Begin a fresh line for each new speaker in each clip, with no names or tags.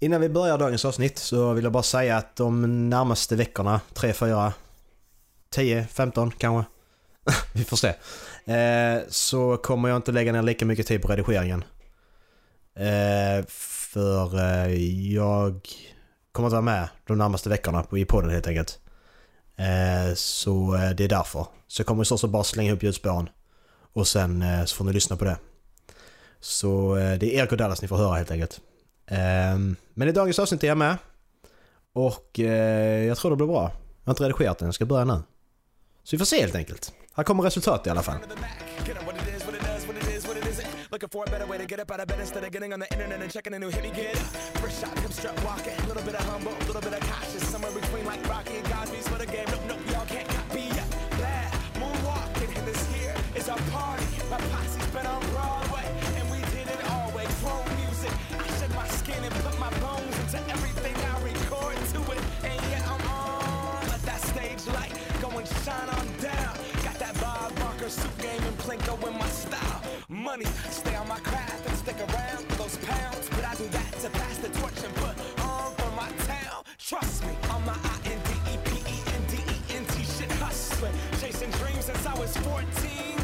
Innan vi börjar dagens avsnitt så vill jag bara säga att de närmaste veckorna, 3, 4, 10, 15 kanske. vi får se. Eh, så kommer jag inte lägga ner lika mycket tid på redigeringen. Eh, för eh, jag kommer inte vara med de närmaste veckorna på- i podden helt enkelt. Eh, så eh, det är därför. Så jag kommer i stort sett bara slänga ihop ljudspåren. Och sen eh, så får ni lyssna på det. Så eh, det är Erik och Dallas ni får höra helt enkelt. Ehm, Men i dagens avsnitt är jag med. Och eh, jag tror det blir bra. Jag har inte redigerat den, jag ska börja nu. Så vi får se helt enkelt. Här kommer resultatet i alla fall.
front of the Mac. Get up what it is, what it does, what it is, what it isn't. Looking for a better way to get up out of bed instead of getting on the internet and checking a new hit me get. up. First shot, come strut walking. A little bit of humble, a little bit of cautious. Somewhere between like Rocky and Cosby's for the game. Nope, nope, y'all can't copy yet. Glad, moonwalking. And this here is our party. My posse's been on Broadway, and we did it always. Pro music. I shed my skin and put my bones into everything I record to it. And yet I'm on. Let that stage light go and shine on down. Got that Bob Barker suit game and Plinko in my style. Money, stay on my craft and stick around for those pounds. But I do that to pass the torch and put on for my town. Trust me, on my I N D E P E N D E N T shit hustling. Chasing dreams since I was 14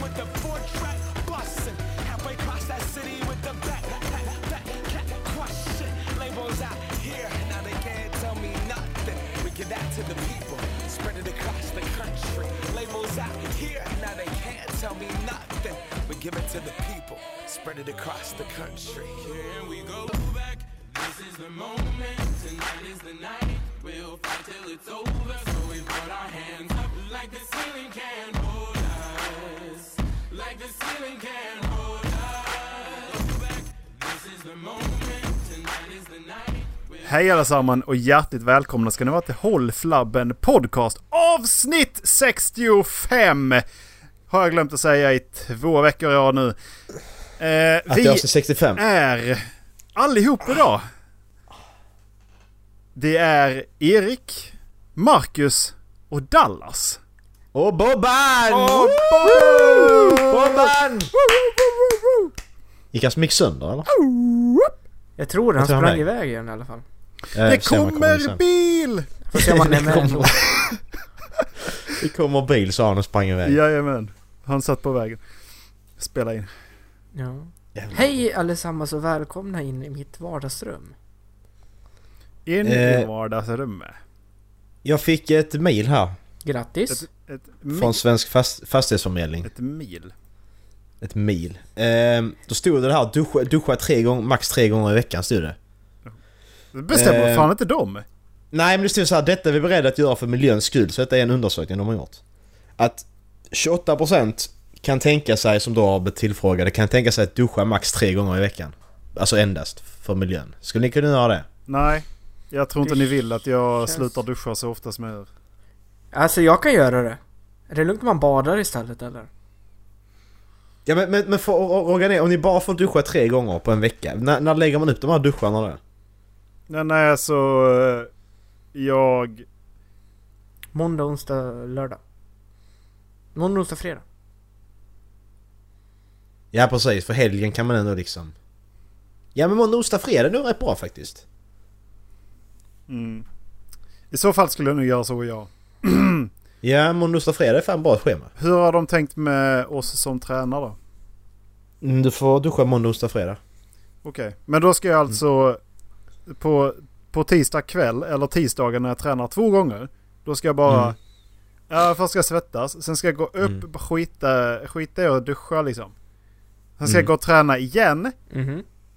with the four track busting. Halfway across that city with the back, back, back, back, question. Labels out here, now they can't tell me nothing. We give that to the people, spread it across the country. Labels out here, now they can't tell me nothing. We give it to the people, spread it across the country. Here we go back. This is the moment, tonight is the night. We'll fight till it's over, so we put our hands up like the ceiling can hold us. Like the ceiling can hold us. Go back. This is the moment, tonight is the night.
Hej allesammans och hjärtligt välkomna ska ni vara till Håll Flabben Podcast avsnitt 65! Har jag glömt att säga i två veckor i rad nu. Eh, vi
65.
är allihop idag. Det är Erik, Marcus och Dallas.
Och Bobban!
Och
Bobban! Gick hans mick sönder eller?
Jag tror det, han
tror han
sprang
är.
iväg igen i alla fall.
Eh,
Det kommer bil!
Får se om han är med
Kommer.
ändå.
Det kommer bil sa han och sprang iväg.
Jajamän. Han satt på vägen. Spela in.
Ja. Hej allesammans och välkomna in i mitt vardagsrum.
In i
Eh.
vardagsrummet.
Jag fick ett mail här
Grattis!
Ett mil.
från Svensk fast, Fastighetsförmedling.
Ett mil.
Ett mil. Ehm, då stod det här duscha, duscha tre gånger, max tre gånger i veckan stod det.
Det bestämmer
Eh.
fan inte de.
Nej men det stod så här, detta är vi beredda att göra för miljöns skull. Så detta är en undersökning de har gjort. Att 28% kan tänka sig, som då har blivit tillfrågade, kan tänka sig att duscha max tre gånger i veckan. Alltså endast för miljön. Skulle ni kunna göra det?
Nej, jag tror inte
Det
ni vill att jag
känns-
slutar duscha så ofta som jag gör.
Alltså jag kan göra det. Är det lugnt om man badar istället eller?
Ja men, men, men för, och- och- Rogan är, om ni bara får duscha tre gånger på en vecka, när, när lägger man upp de här duscharna då?
Nej, nej alltså... eh, Jag...
Måndag, onsdag, lördag. Måndag, onsdag, fredag.
Ja precis, för helgen kan man ändå liksom... Ja men måndag, onsdag, fredag det är nog rätt bra faktiskt.
Mm. I så fall skulle jag nog göra så jag.
Ja, måndag, onsdag, fredag är fan bra schema.
Hur har de tänkt med oss som tränar då?
Mm, Du får duscha måndag, onsdag, fredag.
Okej, men då ska jag alltså... På, på tisdag kväll eller tisdagen när jag tränar två gånger. Då ska jag bara...
Mm.
Ja, först ska jag svettas, sen ska jag gå upp,
Mm.
skita, skita i och duscha liksom. Sen ska
Mm.
jag gå och träna igen.
Mhm.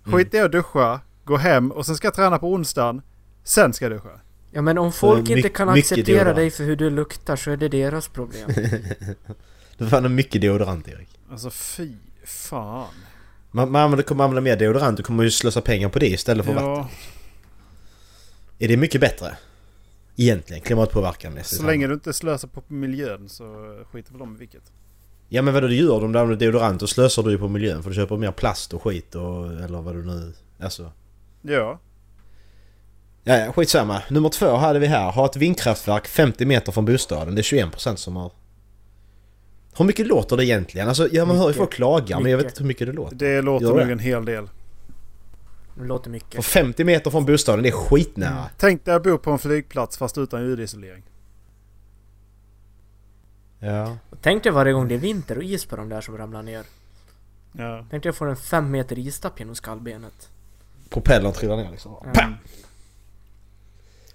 Mm.
Skit i att duscha, gå hem och sen ska jag träna på onsdagen. Sen ska jag duscha.
Ja men om folk
my-
inte kan
mycket
acceptera
deodorant.
dig för hur du luktar så är det deras problem.
Du får använda mycket deodorant Erik.
Alltså fy fan.
Man, man använder, kommer använda mer deodorant, du kommer ju slösa pengar på det istället för vatten.
Ja,
Är det mycket bättre? Egentligen, klimatpåverkan är
så länge du inte slösar på miljön så skiter väl de i vilket.
Ja men vadå du gör om du använder deodorant och slösar du ju på miljön för du köper mer plast och skit och eller vad du nu... Alltså...
Ja.
Ja, ja, skitsamma. Nummer två hade vi här. Ha ett vindkraftverk 50 meter från bostaden. Det är 21% som har... Hur mycket låter det egentligen? Alltså, ja, man hör ju
Mycket.
folk klaga men jag vet
Mycket.
inte hur mycket det låter.
Det låter
Gör det.
nog en hel del.
Det låter
För
mycket.
50 meter från bostaden, det är skitnära.
Tänk dig att bo på en flygplats fast utan ljudisolering.
Ja.
Och tänk dig varje gång det är vinter och is på de där som ramlar ner.
Ja.
Tänk dig jag får en fem meter istapp genom skallbenet.
Propellern trillar ner liksom.
Mm.
Pam!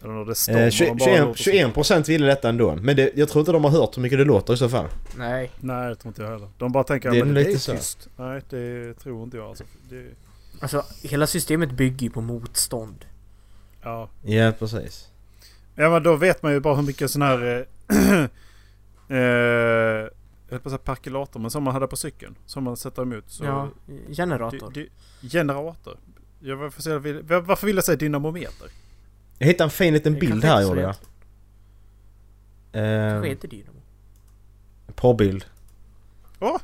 Eller när det stormar
Eh,
och bara
21,
låter så.
21 procent ville detta ändå. Men det, jag tror inte de har hört hur mycket det låter i så fall.
Nej.
Nej, det tror inte jag heller. De bara tänker
Det är
att det
lite
är
så.
tyst. Nej, det tror inte jag alltså. Det,
Alltså hela systemet bygger ju på motstånd.
ja.
Ja, precis.
ja, men då vet man ju bara hur mycket sån här... eh, eh, jag höll på att säga perkulator, men som man hade på cykeln. Som man sätter emot. Så
ja.
Di-
Generator.
di- generator. Jag, varför, säger jag, vill- var- varför vill jag säga dynamometer?
Jag hittade en fin liten
Det kanske
bild här
inte så
gjorde jag.
Kanske
Eh,
heter dynamo.
porrbild.
Åh!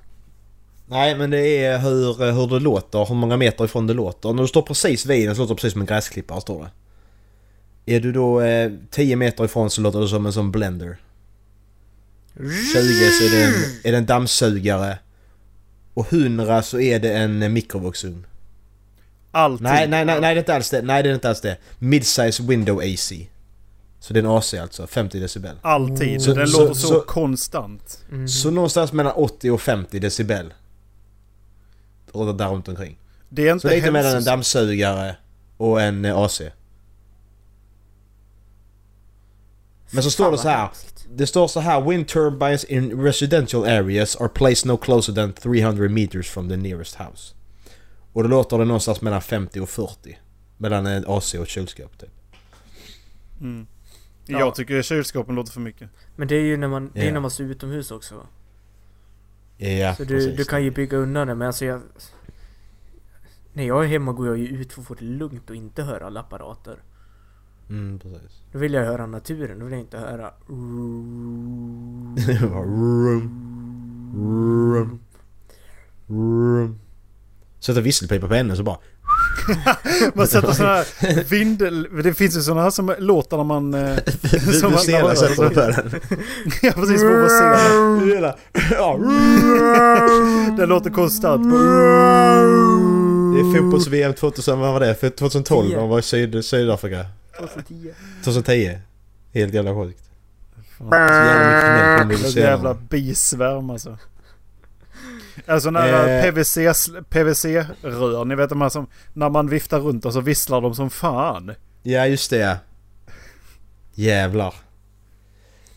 Nej men det är hur, hur det låter, hur många meter ifrån det låter. När du står precis vid den så låter det precis som en gräsklippare står det. Är du då eh, 10 meter ifrån så låter det som en sån blender. 20 så är det en, är det en dammsugare. Och 100 så är det en eh, mikrovågsugn.
Allting.
Nej, nej, nej, nej det är inte alls det. Nej det är inte alls det. Midsize window AC. Så det är en AC alltså, 50 decibel.
Alltid.
Så-
Den
så-
låter så,
så-
konstant.
Så någonstans mellan 80 och 50 decibel. Och där runt omkring.
Det är inte
Så lite mellan en
hälsos-
dammsugare och en eh, AC. Men så står det så här. Det står så här. Wind turbines in residential areas are placed no closer than 300 meters from the nearest house. Och då låter det någonstans mellan 50 och 40. Mellan en AC och ett kylskåp typ.
Mm.
Ja.
Jag tycker kylskåpen låter för mycket.
Men det är ju när man, det är
Ja.
när man står utomhus också.
Ja,
Så du,
precis.
du kan ju bygga undan det men alltså jag... När jag är hemma går jag ju ut för att få det lugnt och inte höra alla apparater.
Mm, precis.
Då vill jag höra naturen, då vill jag inte höra...
Det var rum, rum, rum. Sätta visselpipa på henne så bara...
Man sätter sådana här vindel... Det finns ju sådana här som låter när man... eh,
Du,
Som
du
att-
ser den sätter du på den.
ja precis, på vad ser.
Hela- Ja,
Det låter konstant.
det är fotbolls-VM 2000, vad var det? För 2012
Tio.
de var i Syd, Sydafrika.
2010.
2010. Helt jävla sjukt. Så jävla mycket knäpp kommer
Något
du
jävla
jävla...
bisvärm alltså. Alltså när
Eh.
PVC, sl- PVC-rör, ni vet de här som... När man viftar runt och så visslar de som fan.
Ja, just det. Jävlar.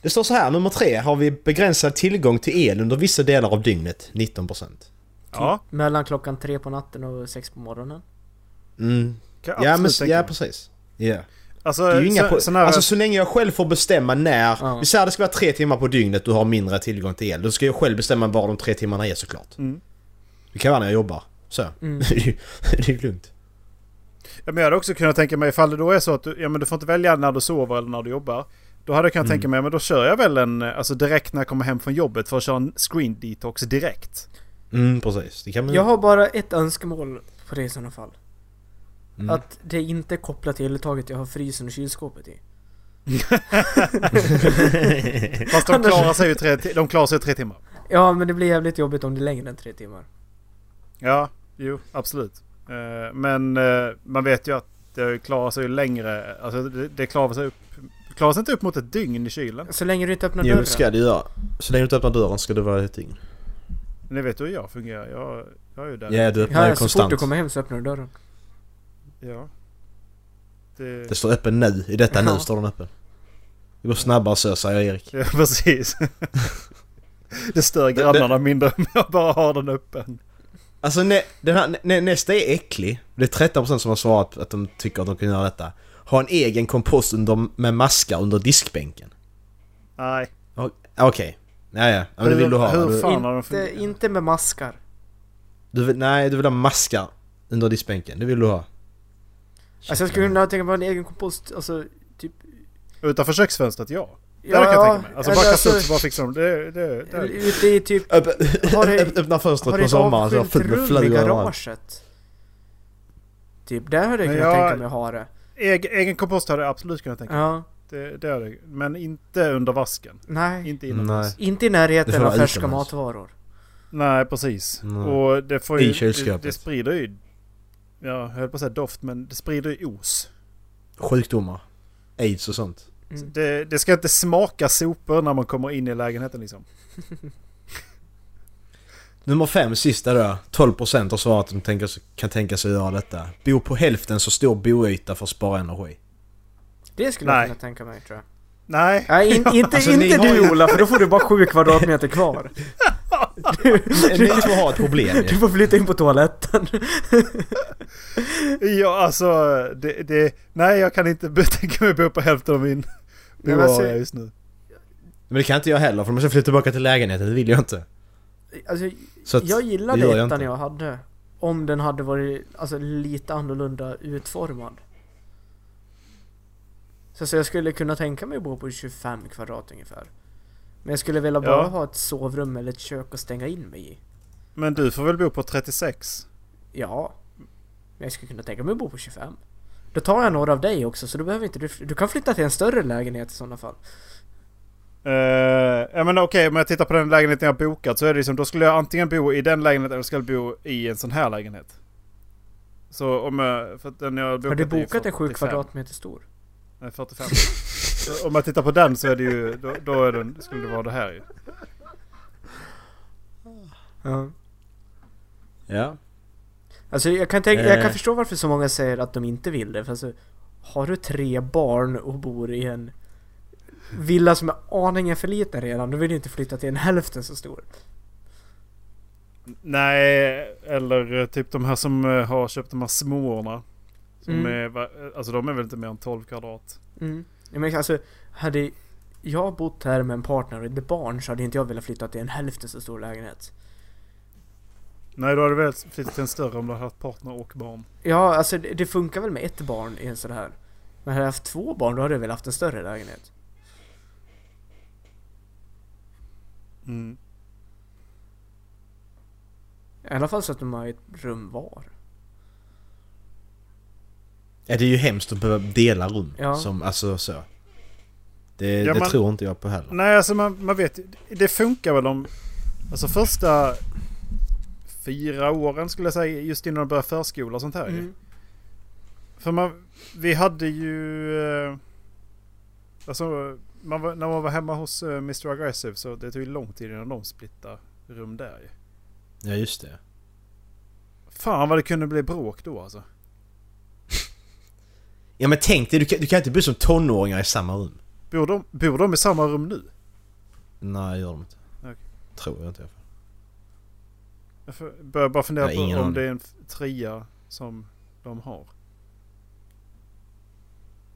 Det står så här, nummer tre. Har vi begränsad tillgång till el under vissa delar av dygnet? 19%.
Ja,
Mellan klockan tre på natten och sex på morgonen.
Mm,
kan
Ja,
jag
men,
absolut tänka
ja
mig.
precis. Ja.
Alltså,
Det är ju inga
så,
på,
sån här,
alltså så länge jag själv får bestämma när...
Ja.
Vi säger att det ska vara tre timmar på dygnet du har mindre tillgång till el. Då ska jag själv bestämma var de tre timmarna är såklart.
Mm.
Det kan vara när jag jobbar. Så.
Mm.
det är ju- det är ju lugnt.
ja, men jag hade också kunnat tänka mig ifall det då är så att du, ja, men du får inte välja när du sover eller när du jobbar. Då hade jag kunnat
Mm.
tänka mig, ja, men då kör jag väl en, alltså direkt när jag kommer hem från jobbet för att köra en screen detox direkt.
Mm, precis. Det kan man ju...
Jag har bara ett önskemål på det i sådana fall.
Mm.
Att det inte är kopplat till eluttaget jag har frysen och kylskåpet i.
Fast de
Anders-
klarar sig ju tre, de klarar sig tre timmar.
Ja men det blir jävligt jobbigt om det är längre än tre timmar.
Ja, jo, absolut. Eh, Men eh, man vet ju att det klarar sig ju längre, alltså det, det klarar sig upp, klarar sig inte upp mot ett dygn i kylen.
Så länge du inte öppnar
Jo,
dörren.
det ska du göra. Så länge du inte öppnar dörren ska du vara ett dygn.
Ni vet ju hur jag fungerar, jag, jag är ju där.
Ja, du öppnar
Ja,
ju
så fort
konstant.
du kommer hem så öppnar du dörren.
Ja. Det,
Det står öppen nu. I detta
Ja.
nu står den öppen. Det går snabbare så, säger Erik.
Ja, precis. Det stör grannarna mindre om jag bara har den öppen.
Alltså nä, den här, nä, nästa är äcklig. Det är 13% som har svarat att de tycker att de kan göra detta. Ha en egen kompost under, med maskar under diskbänken.
Nej.
O- Okej. Ja, ja. ja. Men det vill du ha.
Hur
Du,
fan har de
inte,
fungerat?
inte med maskar.
du, vill- nej, du vill ha maskar under diskbänken. Det vill du ha.
Alltså jag skulle kunna tänka mig en egen kompost, alltså typ...
Utanför köksfönstret, ja. Det hade jag tänka mig. Alltså bara
eller
kasta ut så bara fixar de det. det,
eller
det.
Ute i typ...
Öpp,
Har du-
öpp, öppna fönstret
Har du
på
ett
sommaren så är det
avskilt
fullt med
rum i
flugor överallt.
garaget? Typ där hade jag
Men
kunnat
jag-
tänka mig ha det.
Egen, egen kompost hade jag absolut kunnat tänka mig.
Ja,
Det, det hade jag. Men inte under vasken.
nej.
Inte inomhus.
Nej.
Nej.
Inte i
Det
närheten
får
av
vara alltså.
färska
utomhus.
matvaror.
precis.
Nej.
Och det får ju...
I
det,
kylskåpet.
det sprider ju jag höll på att säga doft, men det sprider ju os.
Sjukdomar. Aids och sånt.
Så
Mm.
Det, det ska inte smaka sopor när man kommer in i lägenheten liksom.
Nummer fem, sista då. 12% har svarat att de tänker, kan tänka sig att göra detta. Bo på hälften så stor boyta för att spara energi.
Det skulle
Nej.
jag kunna tänka mig tror jag.
Nej,
Nej, in, inte,
Alltså, ni
inte
har
du
ju-
Ola, för då får du bara sju kvadratmeter kvar. Du,
Ni
du,
två har ett problem ju.
du får flytta in på toaletten.
ja, alltså, det, det, nej jag kan inte bo- tänka mig bo på hälften av min
Nej, men alltså-
boarea just nu.
Men det kan inte jag heller för de måste flytta tillbaka till lägenheten, det vill jag inte.
Alltså,
Så att,
jag
det gör
gillade
jag
ettan
inte.
jag hade. Om den hade varit alltså, lite annorlunda utformad. Så, så jag skulle kunna tänka mig att bo på 25 kvadrat ungefär. Men jag skulle vilja bara
Ja.
ha ett sovrum eller ett kök att stänga in mig i.
Men du får väl bo på 36?
Ja. Men jag skulle kunna tänka mig att bo på 25. Då tar jag några av dig också så då behöver inte du... Du kan flytta till en större lägenhet i sådana fall.
Uh, ja men okej, om jag tittar på den lägenheten jag bokat så är det liksom, då skulle jag antingen bo i den lägenheten eller skulle jag bo i en sån här lägenhet. Så om jag, för att den jag har bokat
Har du
är ju
bokat en 7
45.
kvadratmeter stor?
Nej, 45. Så om jag tittar på den så är det ju, då, då är den, skulle det vara det här ju.
Ja.
Ja.
Alltså jag kan, tänka, jag
Eh.
kan förstå varför så många säger att de inte vill det. För alltså, har du tre barn och bor i en villa som är aningen för liten redan, då vill du inte flytta till en hälften så stor.
Nej, eller eh, typ de här som eh, har köpt de här småorna. Som
Mm.
är, va- alltså de är väl inte mer än 12 kvadrat.
Mm. Ja, Men alltså, hade jag bott här med en partner och ett barn så hade inte jag velat flytta till en hälften så stor lägenhet.
Nej, då hade du väl flyttat till en större om du hade haft partner och barn.
Ja, alltså det, det funkar väl med ett barn i en sån här. Men hade jag haft två barn då hade jag väl haft en större lägenhet.
Mm.
I alla fall så att de har ett rum var.
ja. Det är ju hemskt att behöva dela rum.
Ja.
Som, alltså så. Det,
Ja,
det
men-
tror inte jag på heller.
Nej, alltså man, man vet ju- Det funkar väl om... Alltså första fyra åren skulle jag säga, just innan de börjar förskola och sånt här ju.
Mm.
För man, vi hade ju... eh, Alltså, man var, när man var hemma hos eh, Mr Aggressive så det tog ju lång tid innan de splittade rum där ju.
Ja, just det.
Fan vad det kunde bli bråk då alltså.
Ja men tänk dig, du kan, du kan inte bo som tonåringar i samma rum.
Bor de, bor de i samma rum nu?
Nej, gör de inte.
Okej.
Tror jag inte. i alla fall.
Jag får- börjar bara fundera
Jag har
på
ingen
om
aning.
det är en f- trea som de har.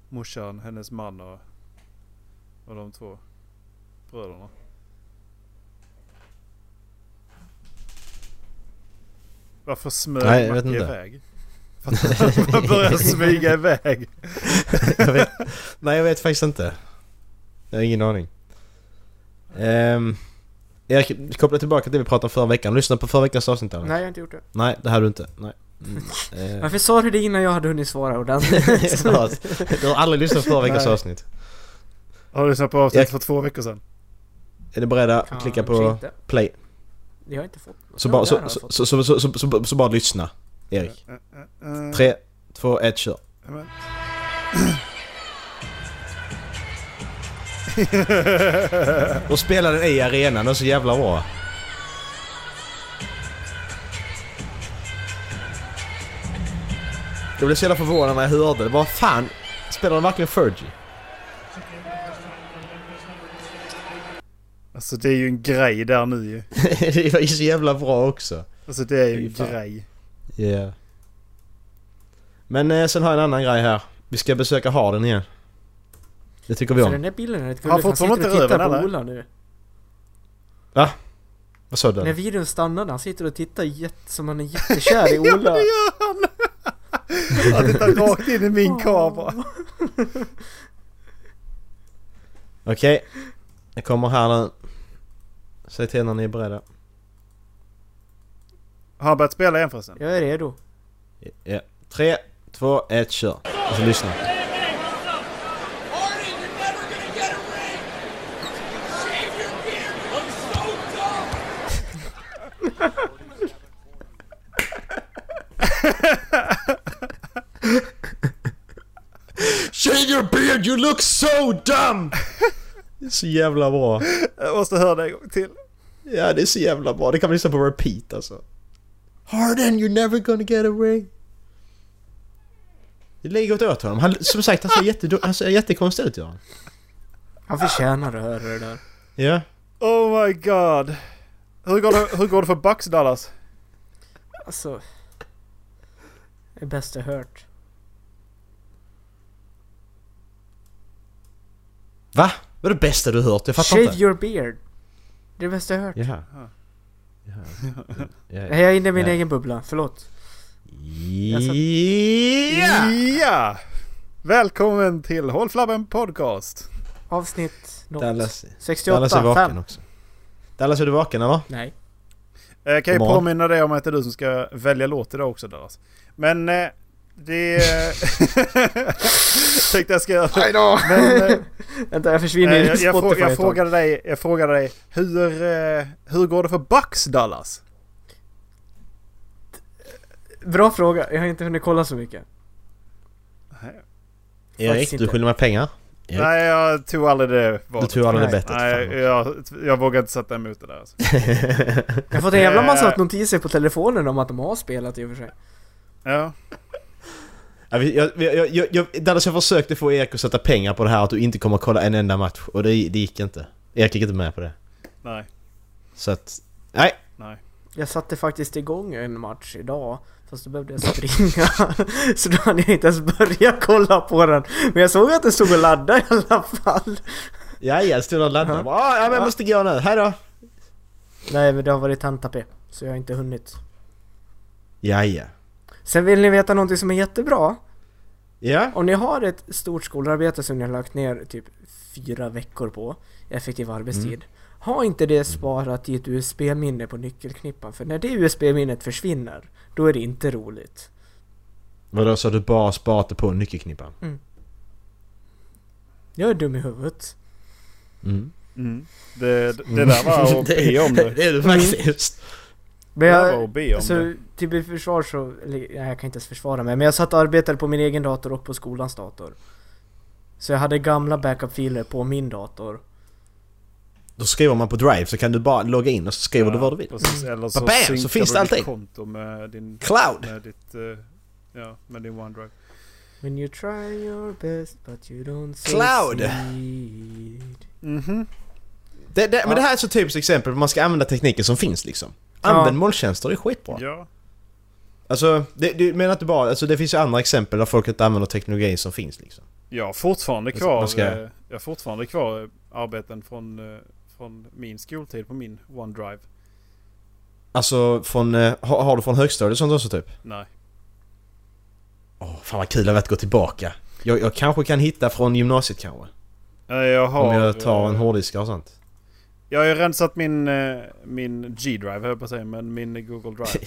Morsan, hennes man och, och de två bröderna. Varför smög
Nej, jag
Macke
vet inte.
iväg? För att man börjar smyga iväg.
Jag vet, nej, jag vet faktiskt inte. Jag har ingen aning. Um, Erik, koppla tillbaka till det vi pratade om förra veckan. Lyssna på förra veckans avsnitt Alex.
Nej, jag har inte gjort det.
Nej, det hade du inte. Nej. Mm, eh,
Varför sa du det innan jag hade hunnit svara ordentligt?
förlåt. du har aldrig lyssnat på förra veckans
Nej.
avsnitt.
Har du lyssnat på avsnittet
Jag-
för två veckor sedan?
Är ni beredda?
Kanske
Klicka på
inte.
play.
Jag har inte fått något.
Så
Ja,
bara,
där har
så,
jag
så, så,
fått.
så, så, så, så, så bara lyssna, Erik.
Eh, eh, eh,
Tre, två, ett, kör.
men-
Och spela den i arenan, den är så jävla bra. Jag blev så jävla förvånad när jag hörde det. Vad fan, spelar de verkligen Fergie?
Alltså det är ju en grej där nu ju.
det var ju så jävla bra också.
Alltså det är ju en
Fy fan.
grej.
Ja. Men eh, sen har jag en annan grej här. Vi ska besöka Harden igen. Det tycker vi
Alltså,
om.
den där bilden är rätt
Har han
gullig. Han sitter
fortfarande
och
inte
tittar
röven,
på
eller?
Ola nu.
Vad sa du?
När
där?
videon stannade, han sitter och tittar jätte, som han är jättekär i Ola.
Han tittar rakt in i min kamera.
Okej. Jag kommer här nu. Säg till när ni är beredda.
Har han börjat spela igen förresten?
Jag är redo.
Ja. Tre, två, ett, kör. Och så lyssna.
Harden, you're never gonna get a ring. Shave your beard. You look so
Shave your beard, you look
dumb.
so dumb! Det är så jävla bra.
Jag måste höra det en gång till.
Ja, det är så jävla bra. Det kan man lyssna på repeat alltså. Harden, you're never gonna get away. Det ligger åt honom. Han, som sagt, han ser, jätte, han ser jättekonstig ut Göran.
Han förtjänar att höra det där.
Ja.
Oh my god. Hur går det, hur går det för Bucks Dallas?
Alltså... Det är bäst jag hört.
Va? Vad är det bästa du hört? Jag fattar
Shave
inte.
your beard. Det är bäst jag hört.
Jaha.
Ja.
Nej, Jag är inne i min
Ja.
egen bubbla, förlåt. Alltså-
Ja!
Ja! Välkommen till Håll Flabben Podcast.
Avsnitt något.
Dallas,
68,
Dallas är vaken
5.
också. Dallas, är du vaken eller?
Nej.
Eh, Jag kan ju
God morgon.
påminna dig om att det är du som ska välja låt idag också Dallas. Men eh, det... eh, Tänkte jag ska göra.
då!
Men, eh,
Vänta, jag försvinner
eh,
i
jag, jag, frå-
Spotify
jag,
ett tag.
frågade dig, jag frågade dig hur, eh, hur går det för Bucks Dallas?
Bra fråga, jag har inte hunnit kolla så mycket.
Erik,
Faktiskt
du
inte.
skyller mig pengar. Erik.
Nej, jag tog aldrig det
Du
valet.
tror aldrig det
Nej.
bettet.
Nej,
fan.
jag, jag vågar inte sätta emot det där. Alltså.
Jag har fått en jävla massa
Eh.
notiser på telefonen om att de har spelat i och för sig.
Ja.
Ja, vi- jag, jag, jag, jag, jag, Dallas, jag försökte få Erik att sätta pengar på det här att du inte kommer att kolla en enda match. Och det, det gick inte. Erik gick inte med på det.
Nej,
Så att... Nej!
nej.
Jag satte faktiskt igång en match idag, fast då behövde jag springa. så då hade jag inte ens börjat kolla på den. Men jag såg att den stod och laddade i alla fall.
Ja, jag stod och laddade.
Ja.
Bara, "Ah, Ja, men jag måste gå nu. Hej då!
Nej, men det har varit tentape, så jag har inte hunnit.
Ja, ja.
Sen vill ni veta någonting som är jättebra?
Ja?
Om ni har ett stort skolarbete som ni har lagt ner typ fyra veckor på, effektiv arbetstid. Ha inte det sparat i ett USB-minne på nyckelknippan, för när det USB-minnet försvinner, då är det inte roligt.
Vadå, så har du bara sparat det på nyckelknippan?
Jag är dum i huvudet.
Mm.
Mm. Det, det där var att be om det.
är du faktiskt.
Men
Det
jag- alltså,
där var att be om
Så
det.
till mitt försvar så, eller, nej, jag kan inte ens försvara mig, men jag satt och arbetade på min egen dator och på skolans dator. Så jag hade gamla backup-filer på min dator.
Då skriver man på Drive så kan du bara logga in och så skriver du vad du vill.
Precis, eller så
Bam, så
synkar
finns
du
det
ditt
allting.
konto med din...
Cloud!
Med ditt... eh, ja, med din OneDrive.
When you try your best but you don't
Cloud!
succeed.
Mhm.
Det, det, Men
Ja.
det här är så typiskt exempel på man ska använda tekniken som finns liksom.
Ja.
Använd molntjänster, det är skitbra.
Ja.
Alltså, det, du menar inte bara... Alltså det finns ju andra exempel där folk inte använder teknologin som finns liksom.
Jag har fortfarande
Man
kvar...
ska-
eh, Jag har fortfarande kvar eh, arbeten från, eh, från min skoltid på min OneDrive.
Alltså från... eh, Har, har du från högstadiet och sånt också typ?
Nej.
Åh, fan vad kul det hade varit att gå tillbaka. Jag, jag kanske kan hitta från gymnasiet kanske.
Eh, Jag har...
Om jag tar en
eh,
hårddiskare och sånt.
Jag har ju rensat min, eh, min G-drive höll jag på att säga, men min Google Drive.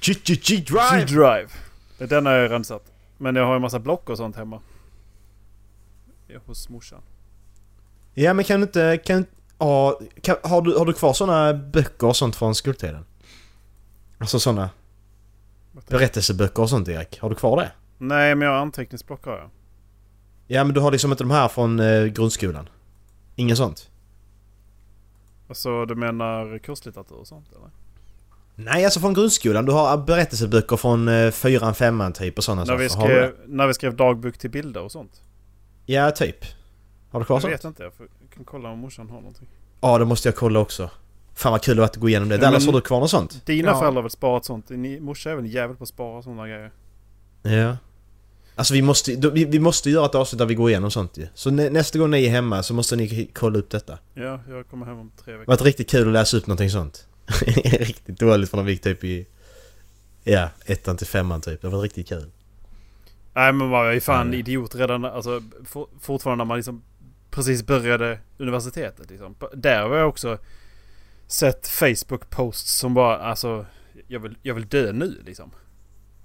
G-G-G-Drive!
G-drive! Den har jag rensat. Men jag har en massa block och sånt hemma. Ja, Hos morsan.
Ja men kan du inte... Kan, ja, kan, har, du, har du kvar såna böcker och sånt från skoltiden? Alltså såna berättelseböcker och sånt Erik? Har du kvar det?
Nej, men jag har anteckningsblock har jag.
Ja men du har liksom inte de här från eh, grundskolan? Inget sånt?
Alltså du menar kurslitteratur och sånt eller?
Nej alltså från grundskolan. Du har berättelseböcker från eh, fyran, femman typ och sådana
när, vi
saker. Har du det?
skrev, när vi skrev dagbok till bilder och sånt?
Ja typ. Har du kvar
jag
sånt?
vet inte, jag får- jag kan kolla om morsan har någonting.
Ja det måste jag kolla också. Fan vad kul det var att gå igenom det.
Ja,
Dallas
men-
har du kvar något sånt?
Dina
Ja.
föräldrar har väl sparat sånt? Ni, morsa är väl en jävel på att spara sådana grejer?
Ja. Alltså vi måste, då- vi, vi måste göra ett avsnitt där vi går igenom sånt ju. Så nä, nästa gång ni är hemma så måste ni k- kolla upp detta.
Ja, jag kommer hem om tre
Det
veckor.
var varit riktigt kul att läsa upp någonting sånt. riktigt dåligt för de gick typ i... Ja, ettan till femman typ. Det var riktigt kul.
Nej men vad jag är fan
Ja.
idiot redan, alltså for, fortfarande när man liksom precis började universitetet liksom. Där har jag också sett Facebook posts som bara alltså, jag vill, jag vill dö nu liksom.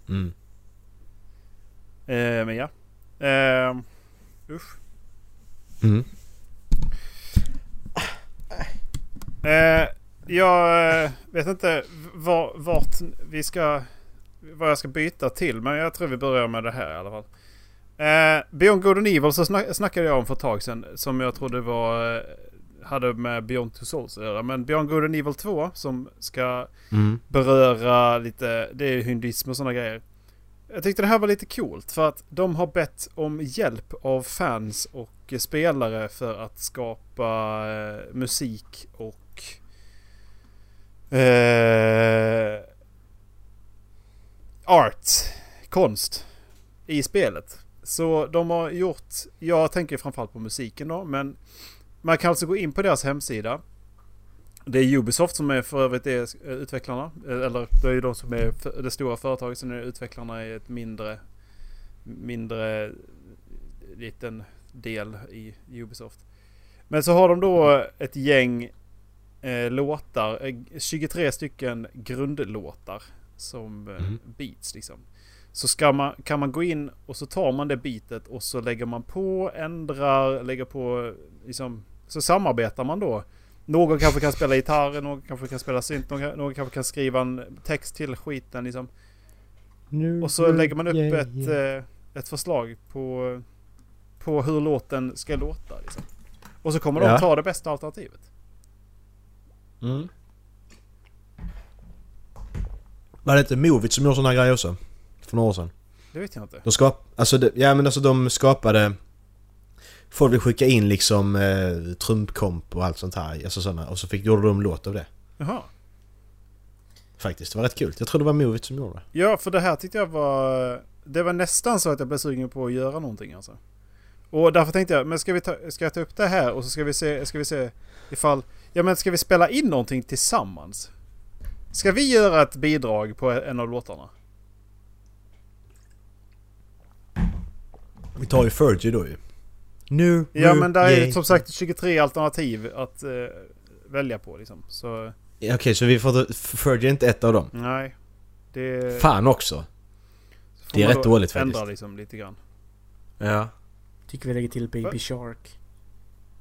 Mm.
Eh, men ja. Eh, usch.
Mm.
Eh, jag eh, vet inte var, vart vi ska, vad jag ska byta till men jag tror vi börjar med det här i alla fall. Eh, Beyond Good and Evil så snack, snackade jag om för ett tag sedan. Som jag trodde var... eh, Hade med Beyond Two Souls att göra. Men Beyond Good and Evil 2 som ska
Mm.
beröra lite... Det är hinduism och sådana grejer. Jag tyckte det här var lite coolt för att de har bett om hjälp av fans och spelare för att skapa eh, musik och... Eh, art, konst i spelet. Så de har gjort, jag tänker framförallt på musiken då, men man kan alltså gå in på deras hemsida. Det är Ubisoft som är för övrigt är eh, utvecklarna, eh, eller det är ju de som är för- det stora företaget, sen är utvecklarna är ett mindre, mindre liten del i Ubisoft. Men så har de då ett gäng eh, låtar, eh, 23 stycken grundlåtar som eh,
Mhm.
beats liksom. Så ska man, kan man gå in och så tar man det bitet och så lägger man på, ändrar, lägger på liksom. Så samarbetar man då. Någon kanske kan spela gitarr, någon kanske kan spela synt, någon, någon kanske kan skriva en text till skiten liksom.
Mm.
Och så lägger man upp ett, eh, ett förslag på, på hur låten ska låta. Liksom. Och så kommer
Ja.
de ta det bästa alternativet.
Mm. Var det inte Movit som gjorde sådana grejer också? För några år sedan.
Det vet jag inte.
De skap... Alltså, det... ja men alltså de skapade... Folk ville skicka in liksom eh, trumpkomp och allt sånt här. Alltså sådana. Och så fick, gjorde de låt av det.
Jaha.
Faktiskt. Det var rätt kul. Jag tror det var Movit som gjorde det.
Ja, för det här tyckte jag var... Det var nästan så att jag blev sugen på att göra någonting alltså. Och därför tänkte jag, men ska, vi ta, ska jag ta upp det här och så ska vi se, ska vi se ifall... Ja men ska vi spela in någonting tillsammans? Ska vi göra ett bidrag på en av låtarna?
Vi tar ju Fergie då ju. Nu,
Mm. Ja
nu,
men där är
yay.
som sagt 23 alternativ att eh, välja på liksom. Så
Okej, så vi får... inte- Fergie är inte ett av dem.
nej. Det,
Fan också.
får
det är
man
rätt
då
dåligt
Ändra
faktiskt.
liksom lite grann.
Ja.
Tycker vi lägger till Baby
Va?
Shark.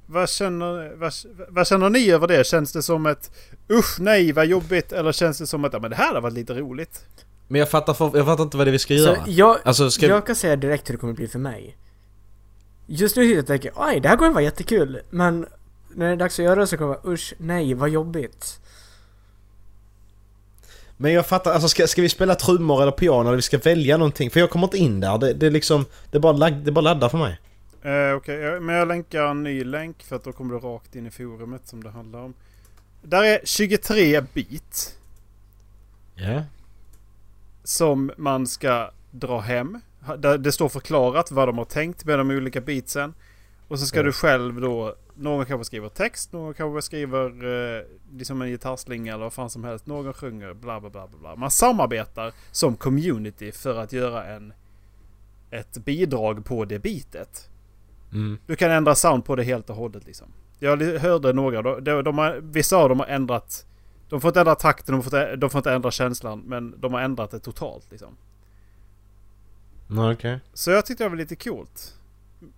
Vad känner, vad, vad känner ni över det? Känns det som ett usch nej vad jobbigt eller känns det som att ja, men det här har varit lite roligt?
Men jag fattar, för, jag fattar inte vad det är vi ska göra.
Så jag,
Alltså ska
jag kan säga direkt hur det kommer bli för mig. Just nu sitter jag och tänker oj det här kommer vara jättekul men när det är dags att göra det så kommer jag vara usch nej vad jobbigt.
Men jag fattar, alltså ska, ska vi spela trummor eller piano eller vi ska välja någonting? För jag kommer inte in där. Det, det är liksom, det är bara, lag, det är bara laddar för mig.
Eh, Okej, jag- men jag länkar en ny länk för att då kommer du rakt in i forumet som det handlar om. Där är 23 bit
Ja.
som man ska dra hem. Ha- Där det står förklarat vad de har tänkt med de olika beatsen. Och så ska
Ja.
du själv då, någon kanske skriver text, någon kanske skriver eh, liksom en gitarrslinga eller vad fan som helst. Någon sjunger bla bla bla bla, bla. Man samarbetar som community för att göra en, ett bidrag på det bitet.
Mm.
Du kan ändra sound på det helt och hållet liksom. Jag li- hörde några, de, de, de har, vissa av dem har ändrat... De får inte ändra takten, de får inte, de får inte ändra känslan, men de har ändrat det totalt liksom.
Ja, Okej.
Så jag tyckte det var lite coolt.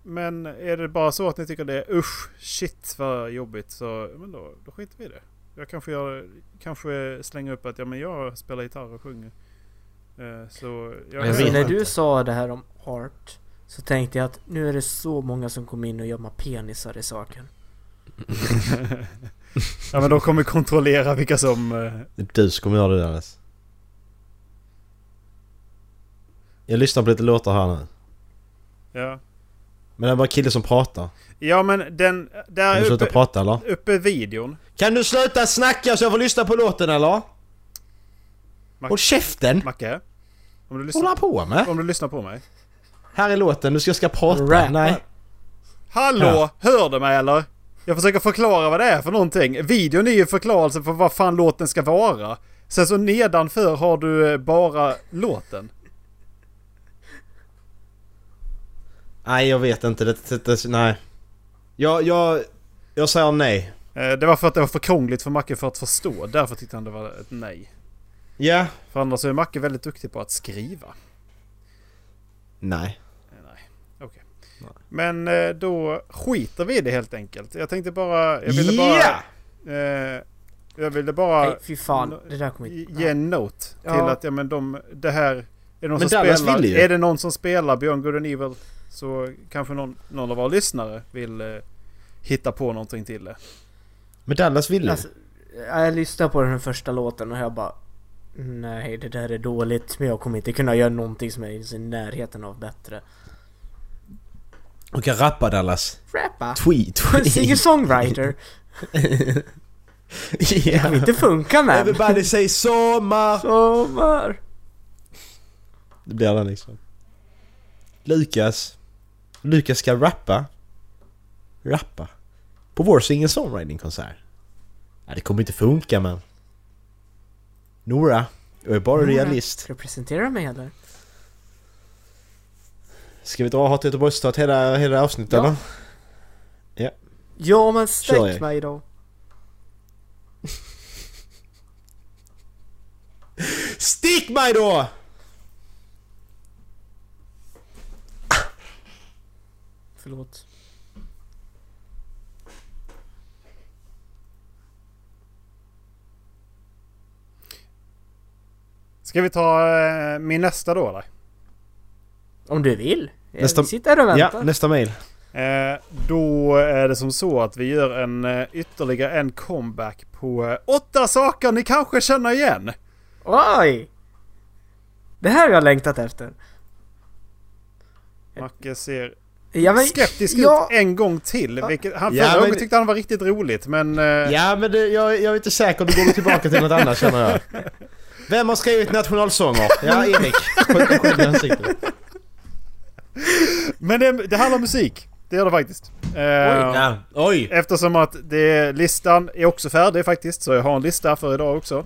Men är det bara så att ni tycker det är usch, shit vad jobbigt så men då, då skiter vi i det. Jag kanske, gör, kanske slänger upp att ja, men jag spelar gitarr och sjunger. Eh, så jag,
Jag
Så
vet
när
inte.
du sa det här om art så tänkte jag att nu är det så många som kommer in och gömmer penisar i saken.
ja, men de kommer kontrollera vilka som... eh,
Det är du som kommer göra det där Alice. Jag lyssnar på lite låtar här nu.
ja.
Men det är bara killen som pratar.
ja men den...
Kan du
Där
sluta
uppe,
prata eller?
uppe i videon.
Kan du sluta snacka så jag får lyssna på låten eller? Håll käften!
Macke?
Vad
Om du,
håller
lyssnar,
han på med?
om du lyssnar på mig?
Här är låten, du ska, ska prata.
Rap.
Nej.
Hallå!
Ja.
Hör du mig eller? Jag försöker förklara vad det är för någonting. Videon är ju förklarelsen för vad fan låten ska vara. Sen så nedanför har du eh, bara låten.
Nej jag vet inte, det, det, det nej. Jag, jag, jag säger nej.
Eh, Det var för att det var för krångligt för Macke för att förstå. Därför tyckte han det var ett nej.
Ja.
För annars är Macke väldigt duktig på att skriva.
Nej.
Eh, Nej, okej.
Nej.
Men eh, då skiter vi i det helt enkelt. Jag tänkte bara... Jag ville bara...
Ja!
Eh, jag ville bara...
Nej fy fan, det där kommer inte...
ge en note till
Ja.
att ja men de, det här... Är det någon
Men
som
Dallas
spelar,
vill ju.
Är det någon som spelar Beyond Good and Evil Så kanske någon, någon av våra lyssnare vill eh, hitta på någonting till det.
Men Dallas ville ju.
Alltså, jag lyssnade på den första låten och jag bara Nej, det där är dåligt, men jag kommer inte kunna göra någonting som är ens i närheten av bättre.
Du kan rappa Dallas.
Rappa!
Tweet.
Singer-songwriter! Kan
yeah.
inte funka men!
Everybody say sommar!
Sommar!
Det blir den liksom. Lukas. Lukas ska rappa. Rappa. På vår singer-songwriting-konsert. Ja, det kommer inte funka men. Nora. Jag är bara
Nora.
realist.
Ska du presentera mig eller?
Ska vi dra Hat Göteborgsstat hela, hela avsnittet
Ja.
eller?
Ja men
Kör jag.
sträck mig då!
Stick mig då!
Förlåt.
Ska vi ta eh, min nästa då eller?
Om du vill? Jag
Nästa-
sitter här och väntar.
Ja, nästa mail.
Eh, då är det som så att vi gör en eh, ytterligare en comeback på eh, åtta saker ni kanske känner igen.
Oj! Det här har jag längtat efter.
Macke ser
Ja, men,
skeptisk
ja,
ut en gång till. Vilket, han
Ja,
förra
men-
gången tyckte han var riktigt roligt men... eh,
Ja men det, jag, jag är inte säker, du går tillbaka till något annat känner jag. Vem har skrivit nationalsånger? Ja, Erik. Skjut dig själv i ansiktet.
Men det, det handlar om musik. Det gör det faktiskt. Eh,
Ja. Oj!
Eftersom att det, listan är också färdig faktiskt, så jag har en lista för idag också.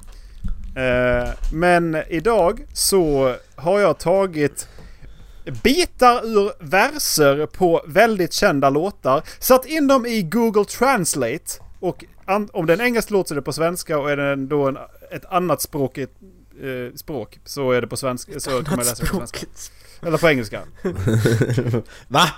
Eh, men idag så har jag tagit bitar ur verser på väldigt kända låtar, satt in dem i Google Translate och an- om det är en engelsk låt så är det på svenska och är det då en, ett annat språkigt eh, språk så är det på svenska. Så kan man läsa det på svenska.
språket.
Eller på engelska.
Va?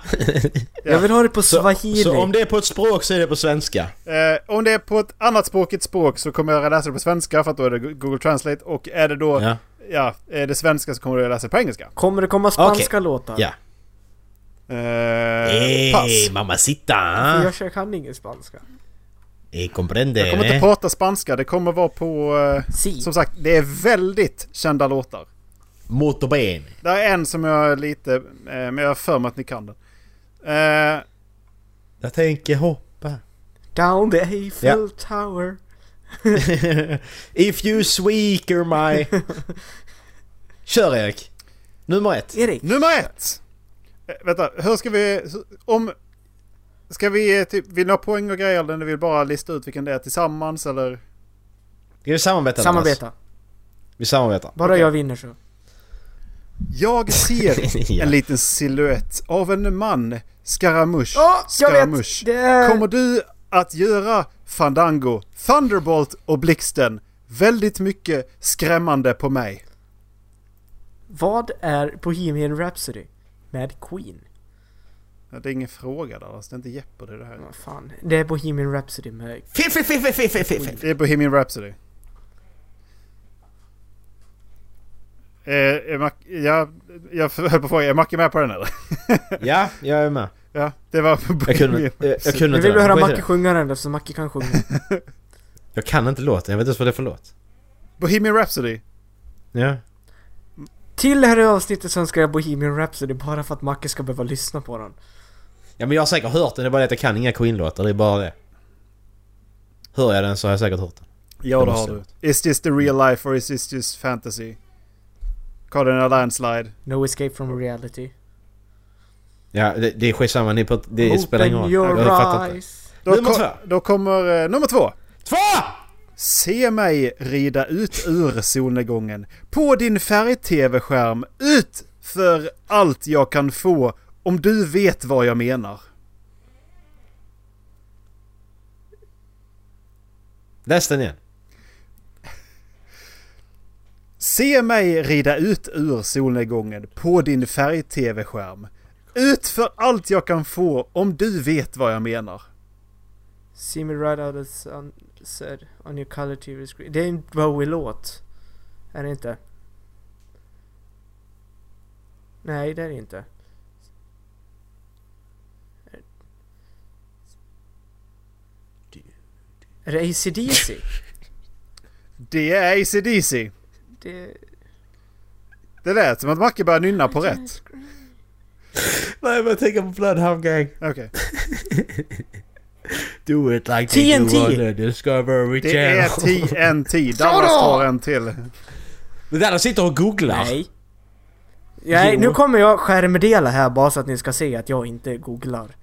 Jag vill ha det på swahili.
Så om det är på ett språk så är det på svenska?
Eh, om det är på ett annat språkigt språk så kommer jag läsa det på svenska för att då är det Google Translate. Och är det då ja.
Ja.
är det svenska så kommer jag läsa det på engelska.
Kommer det komma spanska låtar?
Ja. Eh,
Eh, pass.
Ey,
För
mamacita!
jag kör- kan ingen spanska.
Ey, Eh, comprende?
Jag kommer inte
ne?
prata spanska. Det kommer vara på... Eh,
Si.
som sagt, det är väldigt kända låtar.
Molto bene.
Det är en som jag är lite... Eh, men jag har för mig att ni kan den. Eh,
Jag tänker hoppa.
Down the Eiffel Tower.
If you sweaker my... Kör Erik! Nummer ett.
Erik.
nummer ett! Eh, vänta, hur ska vi... Om... Ska vi eh, typ... Vill ni ha poäng och grejer eller ni vill bara lista ut vilken det är tillsammans eller?
Ska vi samarbeta? Jonas?
Samarbeta.
Vi samarbetar.
Bara jag vinner så.
Jag ser
Ja.
en liten siluett av en man. Scaramouche.
Ja, jag
Scaramouche.
vet! Det är...
Kommer du att göra Fandango, Thunderbolt och Blixten väldigt mycket skrämmande på mig?
Vad är Bohemian Rhapsody? Med Queen.
Ja, Det är ingen fråga där, alltså. det är inte Jeopardy det här.
Vad fan. Det är Bohemian Rhapsody med...
Fiffi, fiffi, fiffi, fiffi.
Det är Bohemian Rhapsody. Eh, är Mac- ja, jag höll på att fråga, är Macke med på den eller?
Ja, jag är med.
Ja, det var
Jag kunde,
Bohemian
eh, jag kunde
Nu
inte
vill du
den.
höra
Skit i
Macke
det.
sjunga den eftersom Macke kan sjunga.
Jag kan inte låten, jag vet inte ens vad det är för låt.
Bohemian Rhapsody.
Ja.
Till det här avsnittet så önskar jag Bohemian Rhapsody bara för att Macke ska behöva lyssna på den.
Ja men jag har säkert hört den, det är bara det att jag kan inga Queen-låtar, det är bara det. Hör jag den så har jag säkert hört den.
Ja, det har
måste
du. Is this the real life or is this just fantasy? Cardinal Landslide.
No escape from reality.
Ja, det, det är skitsamma, ni på, det spelar ingen
Open
roll. Jag
your
fattar inte.
eyes.
Då,
Nummer
ko-
två.
då kommer eh, nummer två.
Två!
Se mig rida ut ur solnedgången på din färg-tv-skärm ut för allt jag kan få om du vet vad jag menar.
Läs den igen.
Se mig rida ut ur solnedgången på din färg-tv-skärm ut för allt jag kan få om du vet vad jag menar.
See me right out of the sunset on your color TV screen. Det är en Bowie-låt. Är det inte? Nej, det är det inte. Är det ACDC?
Det är ACDC.
Det...
Det lät som att Macke började nynna på rätt.
Nej men jag tänker på Bloodhound Gang.
Okej.
Do it like
TNT.
they do on the Discovery
Det är
Channel.
TNT. Dallas tar en till. Eh,
Det där de sitter och googlar.
Nej. Nej,
Jo.
nu kommer jag skärmdela här bara så att ni ska se att jag inte googlar.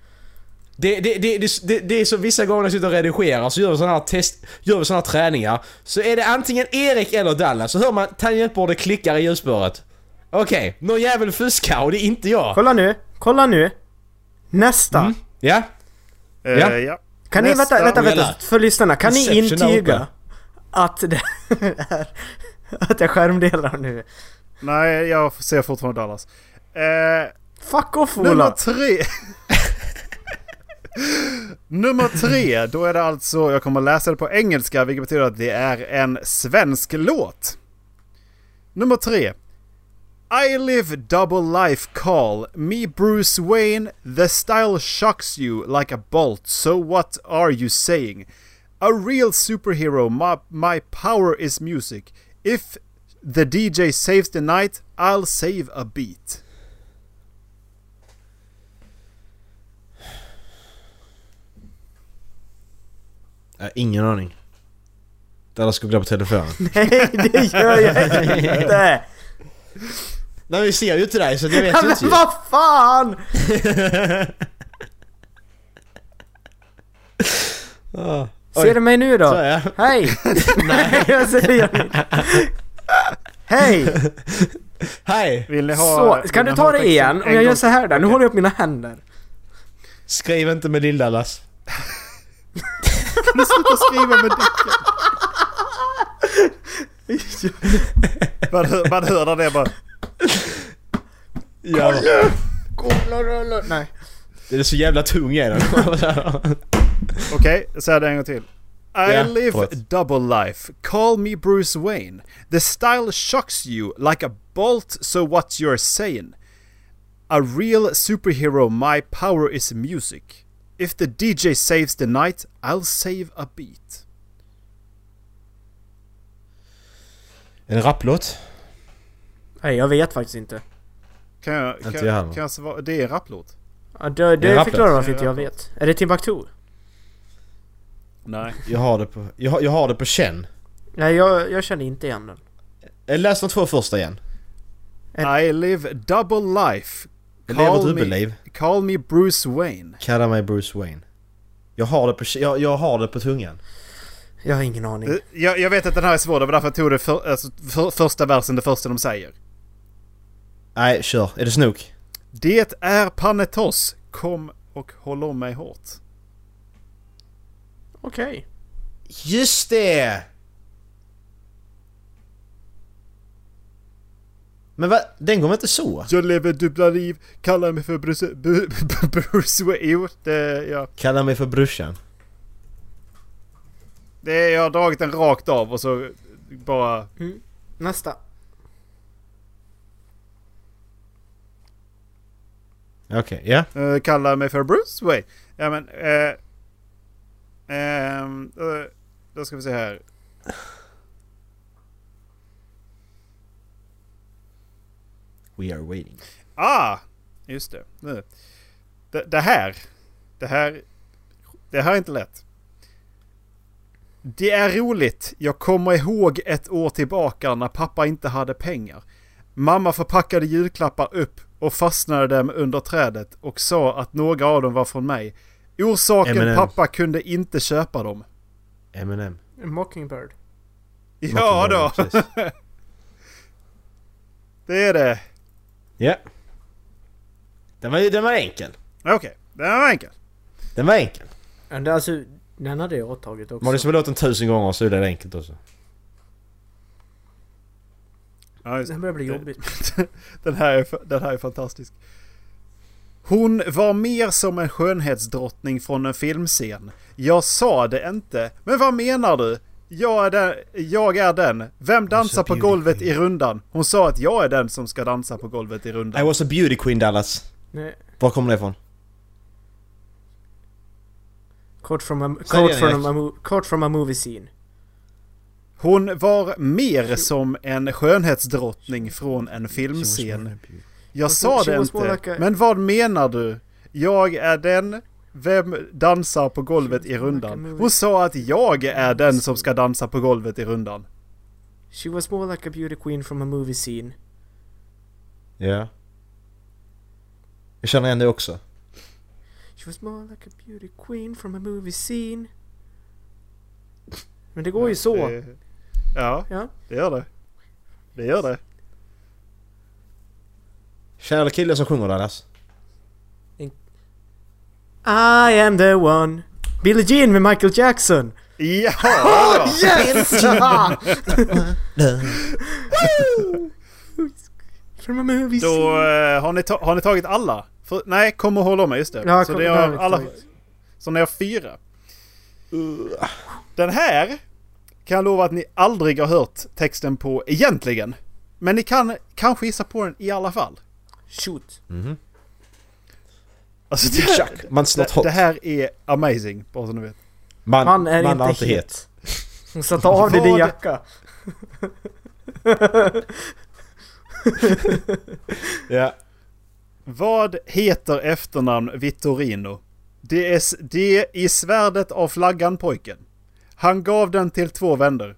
Det, det, det, det, det, det är så vissa gånger när jag sitter och redigerar så gör vi sådana här test, gör vi sådana här träningar. Så är det antingen Erik eller Dallas, så hör man tangentbordet klickar i ljusspåret. Okej, någon jävel fuskar och det är inte jag.
Kolla nu, kolla nu! Nästa!
Ja?
Eh,
Ja.
ja.
Kan ni,
Nästa.
vänta, vänta, vänta,
Snälla.
för lyssnarna, kan ni
Inception där uppe.
intyga att det är, att jag skärmdelar nu?
Nej, jag ser fortfarande Dallas. Eh,
Fuck off
nummer
Ola!
tre. nummer tre. Då är det alltså, jag kommer läsa det på engelska vilket betyder att det är en svensk låt. Nummer tre. I live double life call. Me Bruce Wayne. The style shocks you like a bolt. So what are you saying? A real superhero. My, my power is music. If the DJ saves the night, I'll save a beat.
Jag har ingen aning. Dallas googlar på telefonen.
Nej det gör jag inte!
Nej vi ser ju inte dig så jag
Ja,
vet ju inte ju.
men vad fan!
Ah. Oj,
Ser du mig
så
nu då?
är jag.
Hej! Nej jag säger inte. Hej!
Hej!
Vill ni ha...
Så,
vill
kan
ni
du
ha
ta det
texten
igen?
en
Om jag
gång?
gör så här där, nu håller jag upp mina händer.
Skriv inte med Lill-Dallas.
Kan du sluta skriva med dicken? Man hör, man hör där det bara...
Ja.
Nej.
Det är så jävla tung jag är
Okej, så här det en gång till. I
Ja,
live
förlåt.
double life. Call me Bruce Wayne. The style shocks you like a bolt so what you're saying. A real superhero my power is music. If the DJ saves the night I'll save a beat.
En rapplåt?
Nej jag vet faktiskt inte.
Kan jag... Kan,
Inte jag heller.
kan jag svara? Det är en rapplåt?
Ja, det
Det är
det förklarar
rappet.
Det är
varför inte jag
rappet.
vet. Är det Timbuktu?
Nej.
Jag har det på, jag har, jag har det på känn.
Nej jag, jag känner inte igen den.
Eh, Läs de två första igen.
I live double life.
Jag lever
Call me-
dubbelliv.
Call me Bruce Wayne.
Kalla mig Bruce Wayne. Jag har det på, jag, jag har det på tungan.
Jag har ingen aning.
Eh, Jag, jag vet att den här är svår, det var därför jag tog det för, alltså, för, första versen, det första de säger.
Nej, kör. Är det Snook?
Det är Panetoz. Kom och håll om mig hårt.
Okej.
Just det! Men va? Den går väl inte så?
Jag lever dubbla liv, kallar mig för Bruce... Bu- bu- Bruce Wayne. Jo, det, ja.
Kalla mig för brorsan.
det, jag har dragit den rakt av och så bara...
Nästa.
Okej, ja.
eh, kallar mig för Bruce Wayne. Ja men... Eh, ehm, eh, då ska vi se här.
We are waiting.
Ah! Just det. Nu. Det, det här. Det här. Det här är inte lätt. Det är roligt. Jag kommer ihåg ett år tillbaka när pappa inte hade pengar. Mamma förpackade julklappar upp och fastnade dem under trädet och sa att några av dem var från mig. Orsaken
M&M.
pappa kunde inte köpa dem.
M&M.
Mockingbird.
Ja då,
Precis.
det är det.
Ja. Den var, ju- den var enkel.
Okej, det var enkel.
Den var enkel.
Ja, det, alltså, den hade jag tagit också.
Man har liksom låten tusen gånger så är det enkelt också.
Ja, just det.
Den börjar bli jobbig.
Den här, är, den här är fantastisk. Hon var mer som en skönhetsdrottning från en filmscen. Jag sa det inte, men vad menar du? Jag är den, jag är den. Vem dansar på
beautiful.
golvet i rundan? Hon sa att jag är den som ska dansa på golvet i
I
rundan.
was a beauty queen Dallas.
Nej.
Var kommer det ifrån?
Quote from a,
Säg
quote
det,
from a,
Erik.
mo- quote from a movie scene.
Hon var mer som en skönhetsdrottning från en filmscen. Jag
She-
sa
she
det
was more
inte.
like a-
Men vad menar du? Jag är den... Vem dansar på golvet i
She was more like a
rundan?
movie.
Hon sa att jag är den som ska dansa på golvet i rundan.
She was more like a beauty queen from a movie scene.
Ja. Jag känner igen det också.
She was more like a beauty queen from a movie scene. Men det går ju så.
Det- Ja,
Ja.
det gör det. Det gör det.
Tjej eller kille som sjunger Dallas?
I am the one. Billie Jean med Michael Jackson.
Ja!
Yes! from a movie
Då
scene.
eh, har, ni ta- har ni tagit alla? För, nej, kom och håll om mig, just det.
Ja,
så,
kom-
det
där har
har
vi
alla,
tagit.
så ni har fyra. Den här kan jag lova att ni aldrig har hört texten på egentligen. Men ni kan kanske gissa på den i alla fall.
Shoot.
Alltså det,
Man snart
det,
hot.
det här är amazing, bara så ni vet.
Man,
Han är
man
inte
var
het. Hon satte av dig din
Vad?
jacka.
Ja.
Vad heter efternamn Vittorino? Det är, s- det i svärdet av flaggan pojken. Han gav den till två vänner.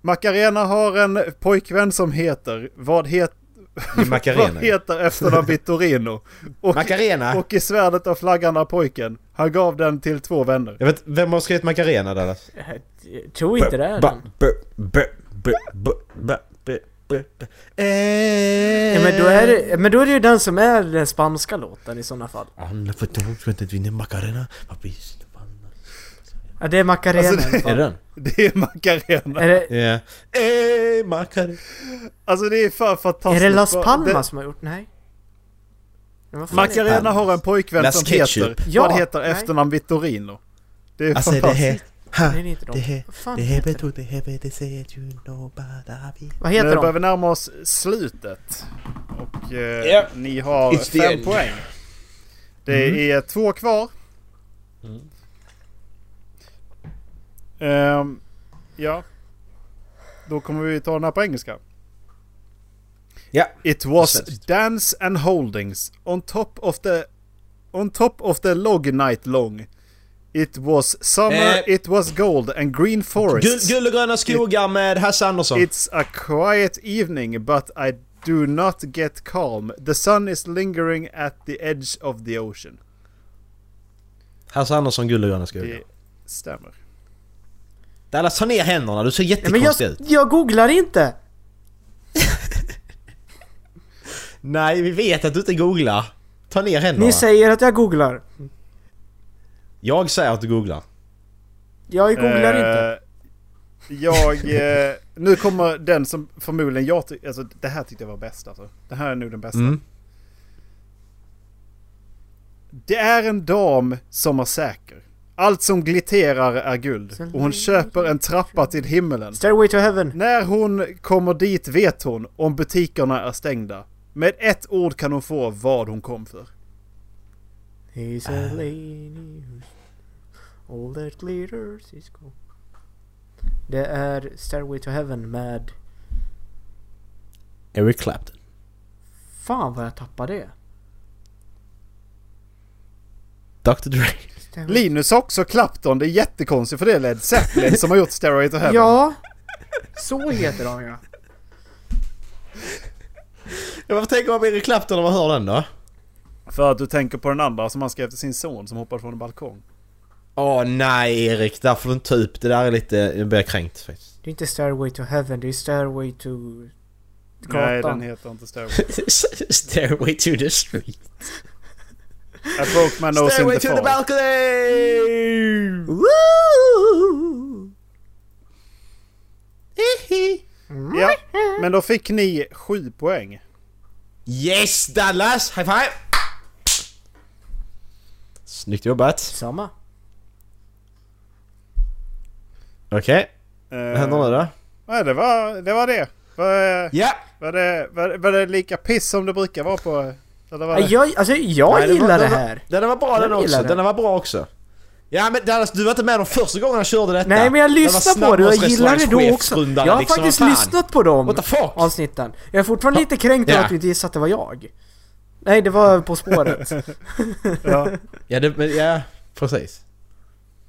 Macarena har en pojkvän som heter... Vad, het,
I
vad
Macarena.
heter efternamn Vittorino? Och,
Macarena!
och i svärdet av flaggan av pojken. Han gav den till två vänner.
Jag vet, vem har skrivit Macarena Dallas?
Jag tror inte det är
Ba-
den.
ba- ba- ba- ba- ba- ba- ba- ba- Eh.
Ja, men, då är det, men då är det ju den som är den spanska låten i sådana fall.
Alla får tro att inte vinner Macarena. Vad blir det?
Ja, det är Macarena
Alltså, det-
i alla fall.
Är det den?
Det är Macarena.
Är det,
Ja. Eh, Macarena.
Alltså det är för
är
fantastiskt.
det Las
Vad-
Palmas
det-
som har gjort? Nej. Men vad fan är det?
Macarena har en pojkvän
Las
som
Ketchup.
heter...
Ja,
vad heter
nej.
efternamn Vittorino? Det är
Alltså det
fantastiskt.
här... Ha,
Nej, det är inte de.
det här...
Vad fan
Det här
heter
betyder... Det här betyder... Say it you know but I be...
Vad
Nu
heter
börjar
de?
vi närma oss slutet. Och eh,
Ja.
ni har
It's the
fem
end.
poäng. Det
Mm.
är två kvar.
Mm.
Ehm, ja. Då kommer vi ta den här på engelska.
Ja.
It was
Precis.
dance and holdings on top of the on top of the log night long. It was summer,
Eh.
it was gold and green forests.
Guld, guld och gröna skogar med Hasse Andersson.
It's a quiet evening, but I do not get calm. The sun is lingering at the edge of the ocean.
Hasse Andersson, guld och gröna skogar.
Det stämmer.
Dallas, ta ner händerna. Du ser
Ja, men jag,
jättekonstig ut.
jag googlar inte!
Nej, vi vet att du inte googlar. Ta ner händerna.
Ni säger att jag googlar.
Jag säger att du googlar.
Jag googlar inte.
Eh, Jag... Eh, nu kommer den som förmodligen jag tycker... Alltså det här tyckte jag var bäst alltså. Det här är nog den bästa.
Mm.
Det är en dam som är säker. Allt som glitterar är guld. Och hon köper en trappa till himmelen.
Stairway to heaven.
När hon kommer dit vet hon om butikerna är stängda. Med ett ord kan hon få vad hon kom för.
He's a lady who's- All that glitters is gold. Det är Stairway to heaven med...
Eric Clapton.
Fan vad jag tappade det.
Dr Dre.
Stairway-
Linus har också Clapton, det är jättekonstigt för det är Led Zeppelin som har gjort Stairway to Heaven.
Ja! Så heter de ja.
Ja, varför tänker man på Eric Clapton när man hör den då?
För att du tänker på den andra som han skrev till sin son som hoppade från en balkong.
Åh nej Erik, där får du inte ta upp. Det där är lite... Jag blir kränkt faktiskt.
Det är inte Stairway to heaven, det är Stairway to...
Nej,
Gatan.
den heter inte Stairway.
Stairway to the street.
I broke my nose in
Stairway
the
to the
fall.
balcony!
Woo!
Hihi.
Ja, men då fick ni sju poäng. Eh,
Yes Dallas! High five! Snyggt jobbat.
Samma.
Okej,
Eh,
vad händer nu då?
Nej, det var det. Var det. Var,
Ja!
var, det var, var det lika piss som det brukar vara på... Eller var
Nej,
det?
Jag, alltså jag
Nej,
gillar
var,
det
den var-
här.
Den var bra
Jag
den också.
gillar det.
Den var bra också. Ja men Dallas, du var inte med de första gången han körde detta.
Nej men jag lyssnade på det och jag gillade det då också. Jag
Jag
har faktiskt lyssnat på dem
liksom.
Alltså-
What the fuck?
avsnitten. Jag är fortfarande lite kränkt över
Ja.
att du inte gissade att det var jag. Nej, det var På spåret.
Ja.
Ja, det, men, ja precis.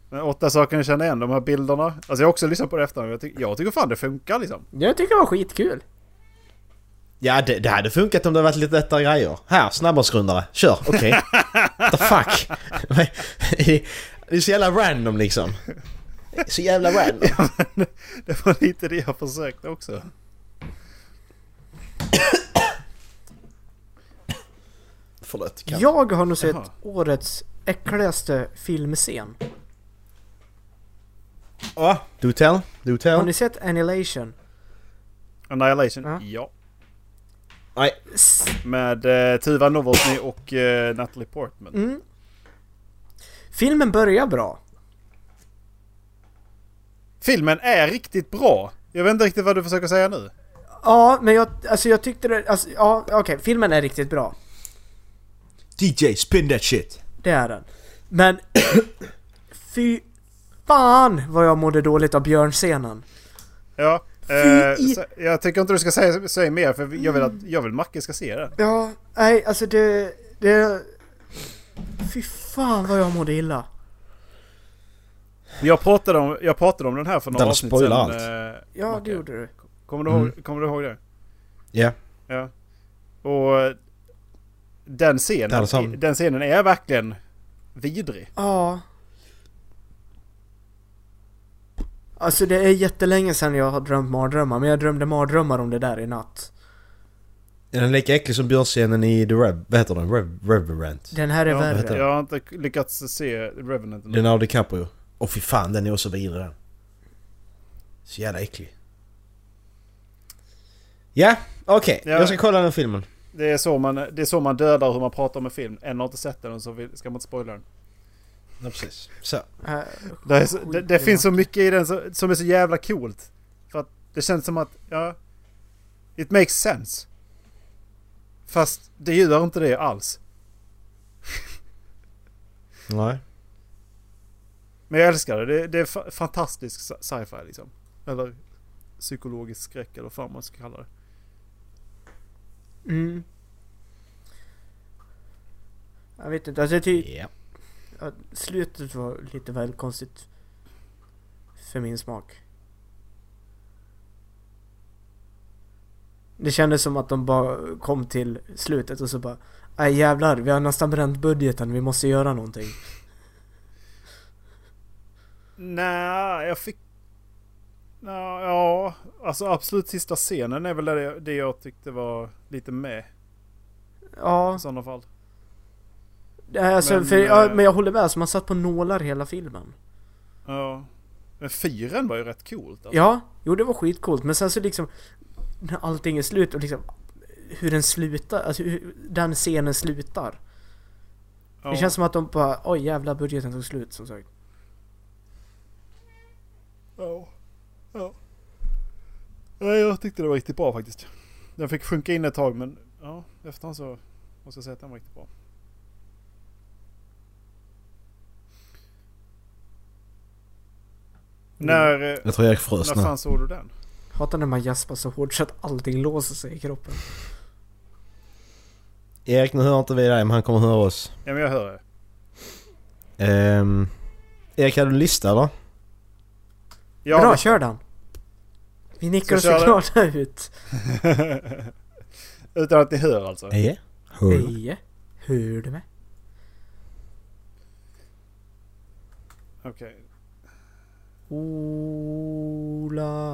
Men åtta saker jag känner igen, de här bilderna. Alltså jag har också lyssnat på det efter. Jag, ty- jag tycker fan det funkar liksom.
jag tycker det var skitkul.
Ja det, det hade funkat om det varit lite lättare grejer. Här, snabbmatsgrundare. Kör, okej. What the fuck? det är så jävla random liksom. Så jävla random.
Det var lite det jag försökte också.
Förlåt. Kan.
Jag har nog sett
Jaha.
årets äckligaste filmscen.
Ja. Do Ah, tell, do
Har
tell.
ni sett Annihilation?
Annihilation,
Ja.
ja.
Nej,
S-
Med eh, Tuva Novotny och eh, Natalie Portman.
Mm. Filmen börjar bra.
Filmen är riktigt bra. Jag vet inte riktigt vad du försöker säga nu.
Ja, men jag, alltså jag tyckte det, alltså, ja okej, filmen är riktigt bra.
DJ, spin that shit.
Det är den. Men fy fan vad jag mådde dåligt av björnscenen.
Ja.
i- Mm.
Eh, så, jag tycker inte du ska säga, säga mer för jag vill att jag vill Macke ska se den.
Ja, nej alltså det, det... Fy fan vad jag mådde illa.
Jag pratade om, jag pratade om den här för några
Den
avsnitt sedan.
spoilar Mm.
eh,
Ja,
Macke.
det gjorde du.
Kommer du, ihåg, kommer du ihåg det?
Ja.
Ja. Och eh, den
Det är
scenen,
som-
den scenen är verkligen vidrig.
Ja. Alltså det är jättelänge sedan jag har drömt mardrömmar, men jag drömde mardrömmar om det där i natt.
Är den lika äcklig som björnscenen i The Rev... Vad heter den? Rev, Reverent?
Den här är
jag, har inte-
värre. Äh,
jag har inte lyckats se Revenant ännu.
Den av DiCaprio. Åh fy fan, den är också vidrig den. Så jävla äcklig. Ja, okej.
Ja.
Jag ska kolla den filmen.
Det är, så man, det är så man dödar hur man pratar om en film. Än har inte sett den så vill, ska man inte spoila den.
Ja, precis. Så.
Äh,
Det, är så, det, det finns så mycket i den som, som är så jävla coolt. För att det känns som att, ja... It makes sense. Fast det gör inte det alls.
Nej.
Men jag älskar det. Det, det är fa- fantastisk sci- sci-fi liksom. Eller psykologisk skräck eller vad fan man ska kalla det.
Mm. Jag vet inte, alltså jag tycker
Ja.
att slutet var lite väl konstigt. För min smak. Det kändes som att de bara kom till slutet och så bara Nej jävlar, vi har nästan bränt budgeten, vi måste göra någonting.
Nej, jag fick... Ja, ja, alltså absolut sista scenen är väl det, det jag tyckte var lite med
Ja,
i sådana fall.
det är alltså,
Men,
men, för, ja,
eh,
men jag håller med, alltså, man satt på nålar hela filmen.
Ja. Men fyren var ju rätt coolt. Alltså.
Ja, jo det var skitcoolt, men sen så liksom när allting är slut och liksom hur den slutar, alltså hur den scenen slutar.
Ja.
Det känns som att de bara, oj jävla budgeten tog slut som sagt.
Ja. Ja. Nej, jag tyckte det var riktigt bra faktiskt. Den fick sjunka in ett tag men ja, efterhand så måste jag säga att den var riktigt bra. När, eh,
Jag tror Erik frös
när
nu.
fan såg du den?
Hatar när man jaspar så hårt så att allting låser sig i kroppen.
Erik, nu hör inte vi dig men han kommer höra oss.
Ja men jag hör det.
Ehm... Erik, hade du en lista eller?
Ja,
Bra,
men-
kör den! Vi
Ska
nickar oss
jag köra
glada ut.
Utan att ni hör alltså.
Ja.
Hej! Hör du mig?
Okej.
Ola...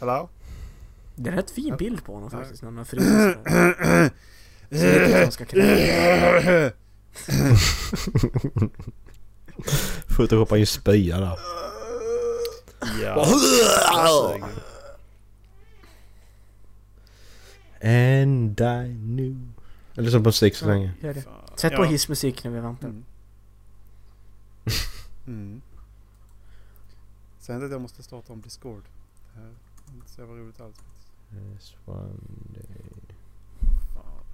Hello?
Det är rätt fin bild på honom faktiskt, när han har frusit sådär. Så jag vet inte om han ska kräkas.
Photoshoppar ju spya där.
Ja.
And I knew... Jag lyssnar på musik så länge.
Gör det.
Fan.
Sätt på
Ja.
hissmusik när vi väntar.
Mm. Mm. Säg inte att jag måste starta om Discord. Det här är inte så jävla roligt alls.
This one day.
Fan.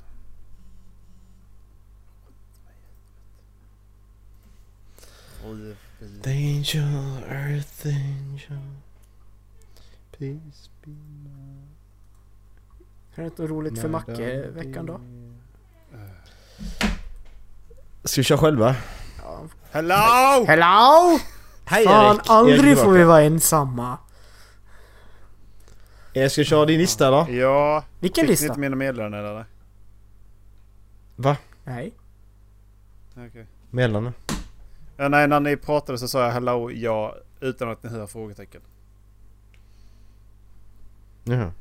Fru, fru.
Angel, earth angel. Peace be
Är det inte något roligt för Macke veckan då?
Ska vi köra själva?
Ja.
Hello!
Hello!
Hej
Fan, aldrig får vi
tillbaka.
vara ensamma.
Eh, Ska vi köra din lista då?
Ja,
Vilken
fick ni
lista?
inte mina meddelanden eller?
Nej.
Okej.
Mellan.
Ja, nej, när ni pratade så sa jag hello, ja, utan att ni hör frågetecken.
Jaha.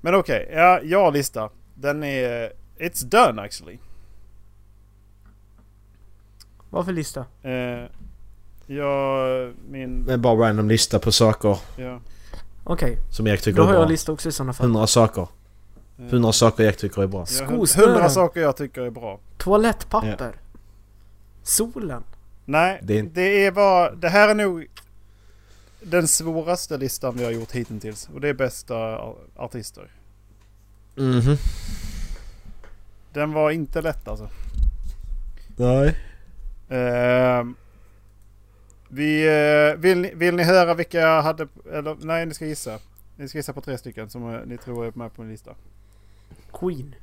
Men okej, ja, ja lista. Den är... It's done actually.
Vad för lista?
Eh, ja, min...
Men bara random lista på saker
Ja,
Okej,
som Erik tycker
då har
är
jag en
bra. Mm.
lista också i sådana fall.
100 saker.
eh,
100 saker Erik tycker är bra.
ja,
Skosnören.
Hundra saker jag tycker är bra.
Toalettpapper. Solen.
Nej,
Det
det
är
är,
inte-
bara... Det här är nog den svåraste listan vi har gjort hittills. Och det är bästa ar- artister.
Mhm.
Den var inte lätt alltså.
Nej.
Ehm, vi, eh, vill, ni- vill ni höra vilka jag hade... Eller nej, ni ska gissa. Ni ska gissa på tre stycken som eh, ni tror är med på min lista.
Queen.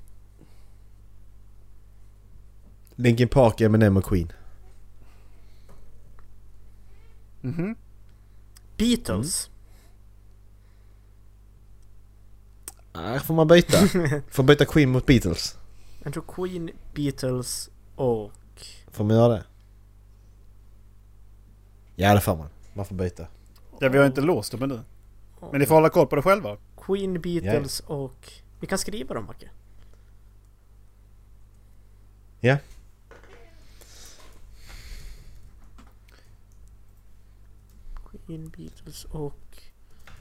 Linkin Park, Eminem och Queen.
Mhm.
Beatles.
Äh, får man byta? får man byta Queen mot Beatles?
Jag tror Queen, Beatles och...
Får man göra det? Ja det får man. Man får byta.
Ja, vi har inte låst dem ännu. Men ni får hålla koll på det själva.
Queen, Beatles och... Vi kan skriva dem Macke.
Ja.
Queen, Beatles och...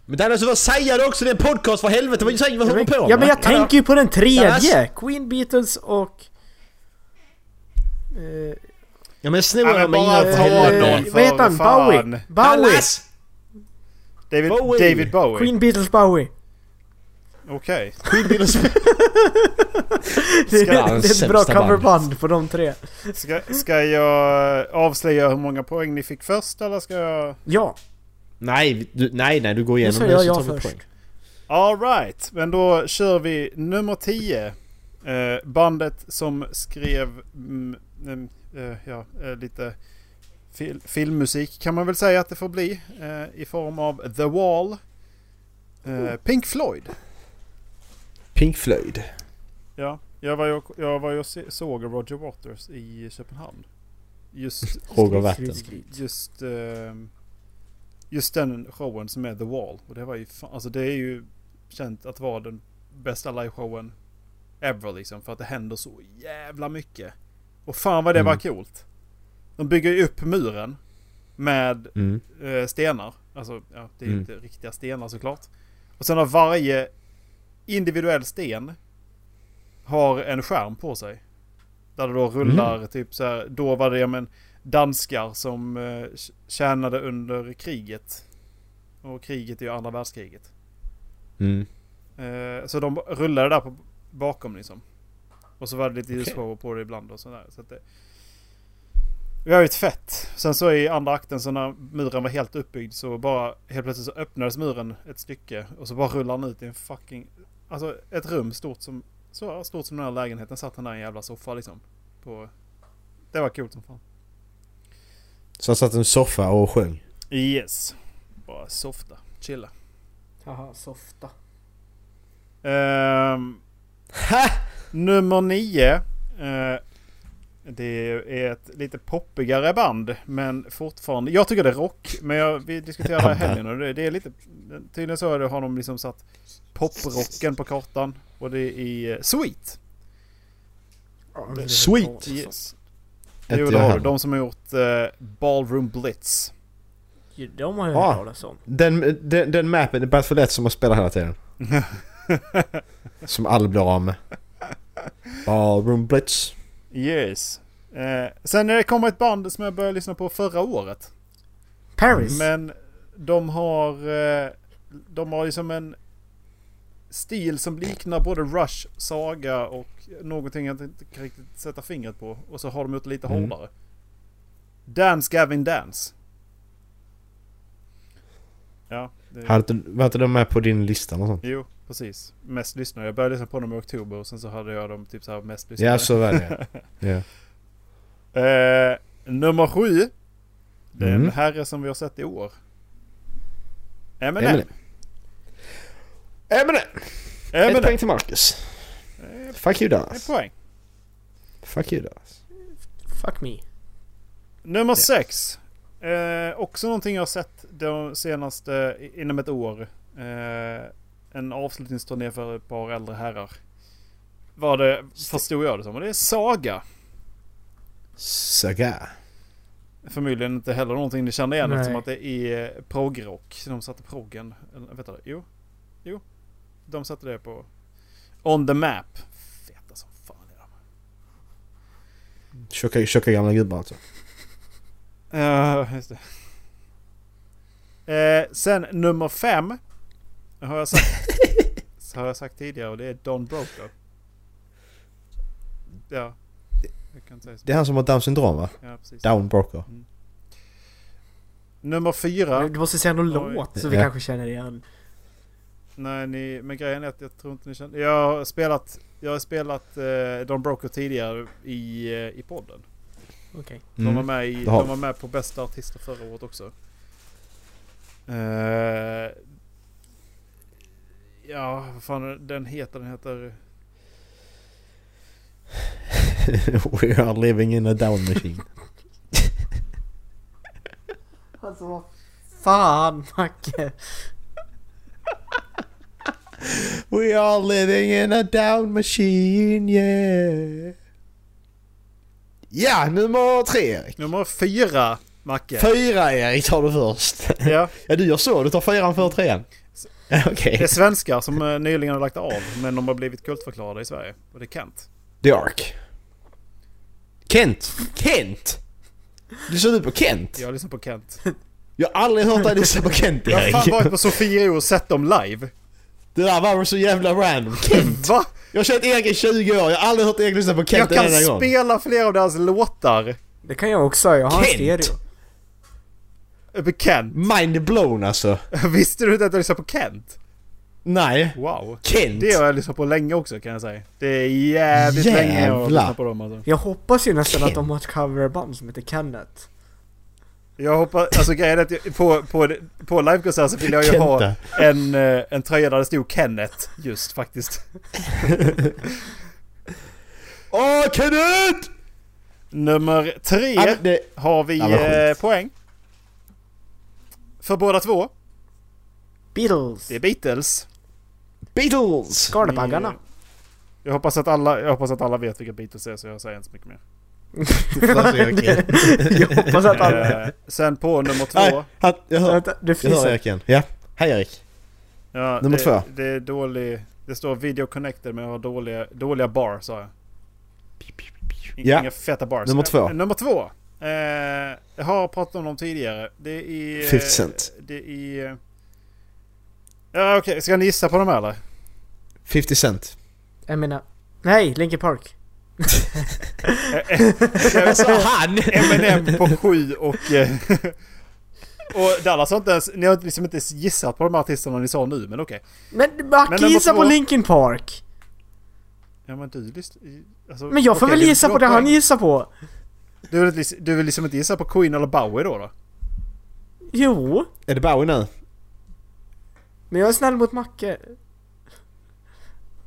Men Dallas du får säga det också! Det är en podcast för helvete! Vad säger vad håller du på med?
Ja men jag tänker ju på den tredje!
Dallas.
Queen, Beatles och... Eh,
Ja men snor
Ja, men
de
bara
mina för
ta
helvete!
någon.
eh, vad heter han?
för fan.
Bowie? Bowie!
David
Bowie.
Bowie. David Bowie.
Queen, Beatles, Bowie!
Okej.
Queen Beatles...
Det, det
Ja,
är
den
ett bra
sämsta
coverband på de tre.
Ska, ska jag eh, avslöja hur många poäng ni fick först eller ska jag...
Ja,
Nej, du, nej, nej, du går
nu
igenom
säger jag
så
ja
tar vi
först.
poäng.
Alright, men då kör vi nummer 10. Eh, bandet som skrev mm, mm, eh, ja, eh, lite fil- filmmusik kan man väl säga att det får bli. Eh, I form av The Wall. Eh, Pink Floyd.
Pink Floyd.
Ja, jag var ju, jag var ju och se- såg Roger Waters i Köpenhamn. Just,
Råg och
Skryt,
vatten.
skryt, skryt.
just, ehm, just den showen som är The Wall. Och det var ju fan, alltså det är ju känt att vara den bästa liveshowen ever liksom. För att det händer så jävla mycket. Och fan vad det var
Mm.
coolt. De bygger ju upp muren med
Mm.
eh, stenar. Alltså, ja, det är ju
Mm.
inte riktiga stenar såklart. Och sen har varje individuell sten har en skärm på sig. Där det då rullar typ så här, då var det ja, men danskar som eh, tjänade under kriget. Och kriget är ju andra världskriget.
Mm.
Eh, så de rullade där på, bakom liksom. Och så var det lite ljusshower på det ibland och sådär. Så att det det var ju ett fett. Sen så i andra akten så när muren var helt uppbyggd så bara helt plötsligt så öppnades muren ett stycke och så bara rullade han ut i en fucking... Alltså ett rum stort som... Så stort som den här lägenheten satt han där i en jävla soffa liksom. På, det var coolt som fan.
Så han satt i en soffa och sjöng.
Yes. Bara softa. Chilla.
Haha, softa.
Ehm, nummer nio. Eh, det är ett lite poppigare band men fortfarande. Jag tycker det är rock men jag, vi diskuterade det här i helgen och det, det är lite... Tydligen så har det- har de liksom satt poprocken på kartan och det är eh, Sweet.
Sweet.
Yes.
Inte
Jo
jag
det har du.
heller.
De som har gjort eh, Ballroom Blitz.
Ja, De har jag
Ah.
hört talas om.
Den, den, den mappen, det är bara för lätt som att spela hela tiden. som alla blir av med. Ballroom Blitz.
Yes. Eh, sen eh, kommer ett band som jag började lyssna på förra året.
Paris.
Men de har... eh, De har liksom en stil som liknar både Rush, Saga och någonting jag inte kan riktigt sätta fingret på. Och så har de gjort det lite
Mm.
hårdare. Dance Gavin Dance. Ja, det,
Hade inte- Var inte de med på din lista? Eller sånt?
jo precis. Mest lyssnare. Jag började lyssna på dem i oktober och sen så hade jag dem typ så här mest lyssnare.
Ja, så var det. ja.
Eh, nummer sju. Det är en
Mm.
herre som vi har sett i år. Eminem.
Eminem. Eminem! Ett
Eminem.
poäng till Marcus. Fuck you
Eh, Ett
Dallas.
poäng.
Fuck you Dallas.
Fuck me.
Nummer sex. Eh, också någonting jag har sett de senaste, inom ett år. Eh, en avslutningsturné för ett par äldre herrar. Var det, förstod jag det som. Och det är Saga.
Saga.
Förmodligen inte heller någonting ni känner igen
Nej.
eftersom att det är eh, progrock. De satte proggen. Eller, vet du, jo. Jo. De satte det på... On the map. Feta som fan är de.
Tjocka, tjocka gamla gubbar alltså.
Ja, Eh, just det. Eh, sen nummer fem. Har jag sagt, så har jag sagt tidigare och det är Don Brokaw. Ja. Jag kan säga så.
Det är han som har Downs syndrom va?
Ja, precis.
Down Broker.
Nummer fyra.
Du måste säga någon
Oj.
låt så vi
Ja.
kanske känner igen.
Nej, ni, men grejen är att jag tror inte ni känner... Jag har spelat, jag har spelat eh, Don Brokaw tidigare i, eh, i podden.
Okej.
Mm.
De, var med i,
Det har
de
vi.
var med på bästa artister förra året också. Eh, ja, vad fan är den heter? Den heter...
We are living in a down machine.
Alltså vad fan Macke!
We are living in a down machine yeah. Ja, nummer tre Erik.
Nummer fyra, Macke.
Fyra Erik tar du först.
ja,
Ja du gör så, du tar fyran före trean. Okej.
det är svenskar som eh, nyligen har lagt av, men de har blivit kultförklarade i Sverige. Och det är Kent.
The Ark. Kent! Kent! Lyssnar du på Kent?
Jag lyssnar på Kent.
Jag har aldrig hört dig lyssna på Kent
Jag har fan
Erik.
varit på Sofiero och sett dem live.
Det där var så jävla random. Kent!
Va?
Jag har känt Erik i 20 år, jag har aldrig hört Erik lyssna på
Jag
Kent
kan
en enda gång.
spela flera av deras låtar.
Det kan jag också, jag har en
Kent!
stereo.
Över Eh, Kent.
Mind blown alltså.
Visste du inte att jag lyssnar på Kent?
Nej.
Wow.
Kent!
Det har jag lyssnat på länge också kan jag säga. Det är jävligt
Jävlar.
länge jag har lyssnat på dem alltså.
Jag hoppas ju nästan att
Kent.
de har ett coverband som heter Kenneth.
Jag hoppas, alltså grejen är att jag, på, på, på livekonsert så vill jag ju ha
Kenta.
en, eh, en tröja där det stod Kenneth just faktiskt.
Åh Kenneth!
Nummer tre
Ja, men det-
har vi
Ja, vad sjukt.
eh, poäng. För båda två.
Beatles!
Det är Beatles.
Beatles!
Skalbaggarna!
Ni, eh, Jag hoppas att alla, jag hoppas att alla vet vilka Beatles är så jag säger inte så mycket mer.
jag hoppas att alla...
Eh, sen på nummer två.
Nej, han, jag hör,
Vänta, du
jag hör
fnyser.
Erik igen. Ja. Hej Erik.
Ja,
Nummer
det,
två.
Det är dålig... Det står video connected men jag har dåliga, dåliga bar sa jag. In,
Ja.
Inga feta bars.
Nummer
Eh,
två.
nummer två. Eh, jag har pratat om dem tidigare. Det är... eh,
50 Cent.
Det är... eh, Ja okej, ska ni gissa på dem här, eller?
50 Cent.
Eminem. Nej, Linkin Park.
Vad sa Alltså, han?
M&M på sju och... eh, och Dallas har inte ens... Ni har liksom inte ens gissat på de här artisterna ni sa nu men okej.
Men
Men
Macke
nummer
gissar på
två.
Linkin Park!
Ja men du lyssnar... Alltså,
Men jag får
okej,
väl
det-
gissa
du
på
har
det han
poäng.
gissar på!
Du vill, liksom- du vill liksom inte gissa på Queen eller Bowie då? då?
Jo!
Är det Bowie nu?
Men jag är snäll mot Macke.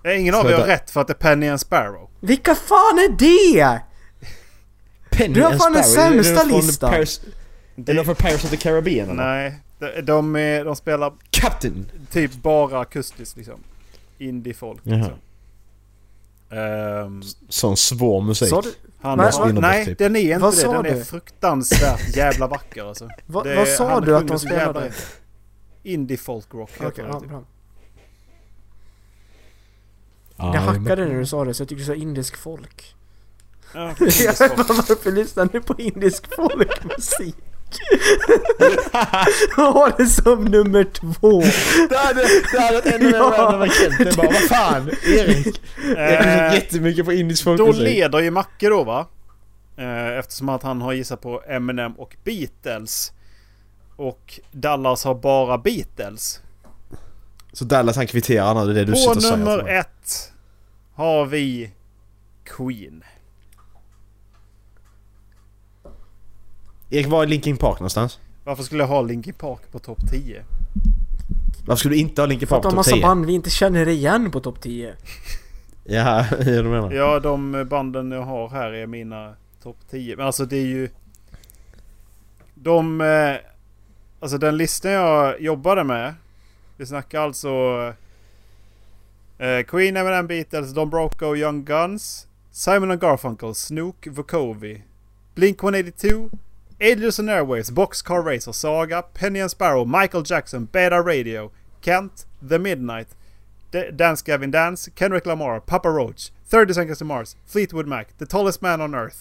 Nej, ingen av
Så
er har
där-
rätt för att det är Penny and Sparrow.
Vilka fan är det?
Penny
Du har
and
fan den
Sparrow, är det
sämsta
från
listan.
Paris- Är det från Pirates of the Caribbean eller?
Nej, de, de, är, de spelar
Captain!
typ bara akustiskt liksom. Indie-folk.
Jaha.
Liksom. Ehm,
Sån svår musik.
Sa du,
han
Men-
har,
Spinnerbäck,
nej,
typ.
den är inte
Vad
det.
sa
Den är
du?
fruktansvärt jävla vacker alltså.
vad,
Det-
vad sa
han
du att
sjunger
de
så jävla
spelade?
rätt. Indie-folk-rock heter
Okej,
det
ja,
typ.
bra.
Ja,
Det
men-
hackade när du sa det så jag tyckte du sa indisk folk.
Ja, Eh,
Jag
indie-folk.
bara, Varför lyssnar ni på indisk folkmusik? Jag har det som nummer två.
Det hade, det hade varit ännu mer
Ja.
random än Kent. Det är bara vad fan Erik. Jag har lyssnat
Eh,
jättemycket på indisk
Då
folkmusik.
leder ju Macke då va? Eh, Eftersom att han har gissat på Eminem och Beatles. Och Dallas har bara Beatles.
Så Dallas han kvitterar nu, det är det du sitter
På
och säger. till
nummer
mig.
ett har vi Queen.
Erik, var är Linkin Park någonstans?
Varför skulle jag ha Linkin Park på topp 10?
Varför skulle du inte ha Linkin
För
Park
att de har
på topp
massa
10?
band vi inte känner igen på topp 10.
Ja, ja, du menar.
Ja, de banden jag har här är mina topp 10. Men alltså det är ju... De... eh, Alltså den listan jag jobbade med. Vi snackar alltså... eh, Queen, Eminem, Beatles, Don Broco, Young Guns, Simon and Garfunkel, Snook, Vukovi, Blink-182, Alias and Airwaves, Boxcar Racer, Saga, Penny and Sparrow, Michael Jackson, Beta Radio, Kent, The Midnight, D- Dance Gavin Dance, Kendrick Lamar, Papa Roach, 30 Seconds to Mars, Fleetwood Mac, The Tallest Man on Earth,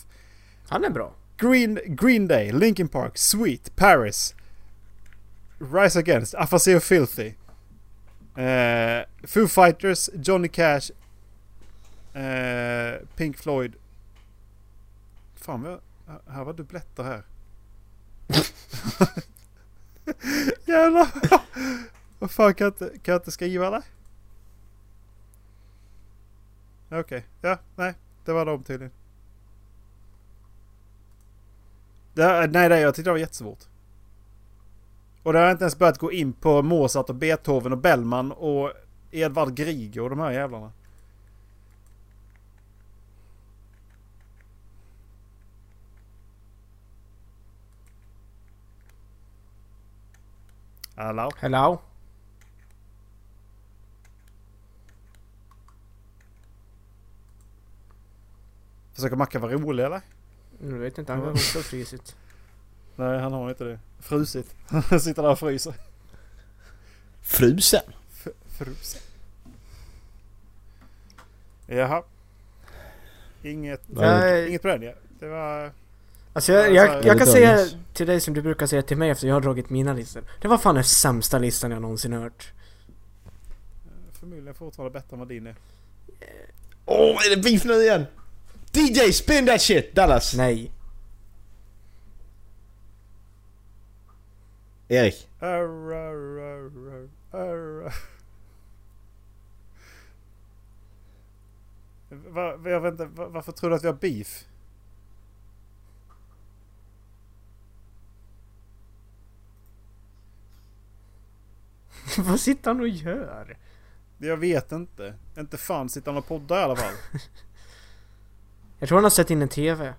Han är bra.
Green, Green Day, Linkin Park, Sweet, Paris, Rise Against, Aphasia Filthy, eh, Foo Fighters, Johnny Cash, eh, Pink Floyd. Fan, vad, här var dubbletter här. Jävlar! Vad fan, kan jag inte, kan jag inte skriva eller? Okej, ja, nej, det var de tydligen. Det här, nej, det, jag tyckte det var jättesvårt. Och det har jag inte ens börjat gå in på Mozart och Beethoven och Bellman och Edvard Grieg och de här jävlarna. Hello?
Hello?
Försöker Mackan vara rolig eller?
Nu vet inte, han har också frusit.
Nej, han har inte det. Frusit. Han sitter där och fryser.
Frusen?
F- frusit. Jaha. Inget,
Nej.
inget på den ja. Det var...
Alltså
Ja,
jag, jag,
så-
jag kan
Eller
säga
Daniels.
till dig som du brukar säga till mig efter jag har dragit mina listor. Det var fan den sämsta listan jag någonsin hört.
Förmodligen fortfarande bättre än vad din är.
Åh, är det beef nu igen? DJ, spin that shit! Dallas!
Nej.
Erik.
Arr, arr, arr, arr, arr. Va, va- jag vet inte, va, varför tror du att vi har beef?
Vad sitter han och gör?
Jag vet inte. Inte fan sitter han och poddar i alla fall.
Jag tror han har sett in en TV.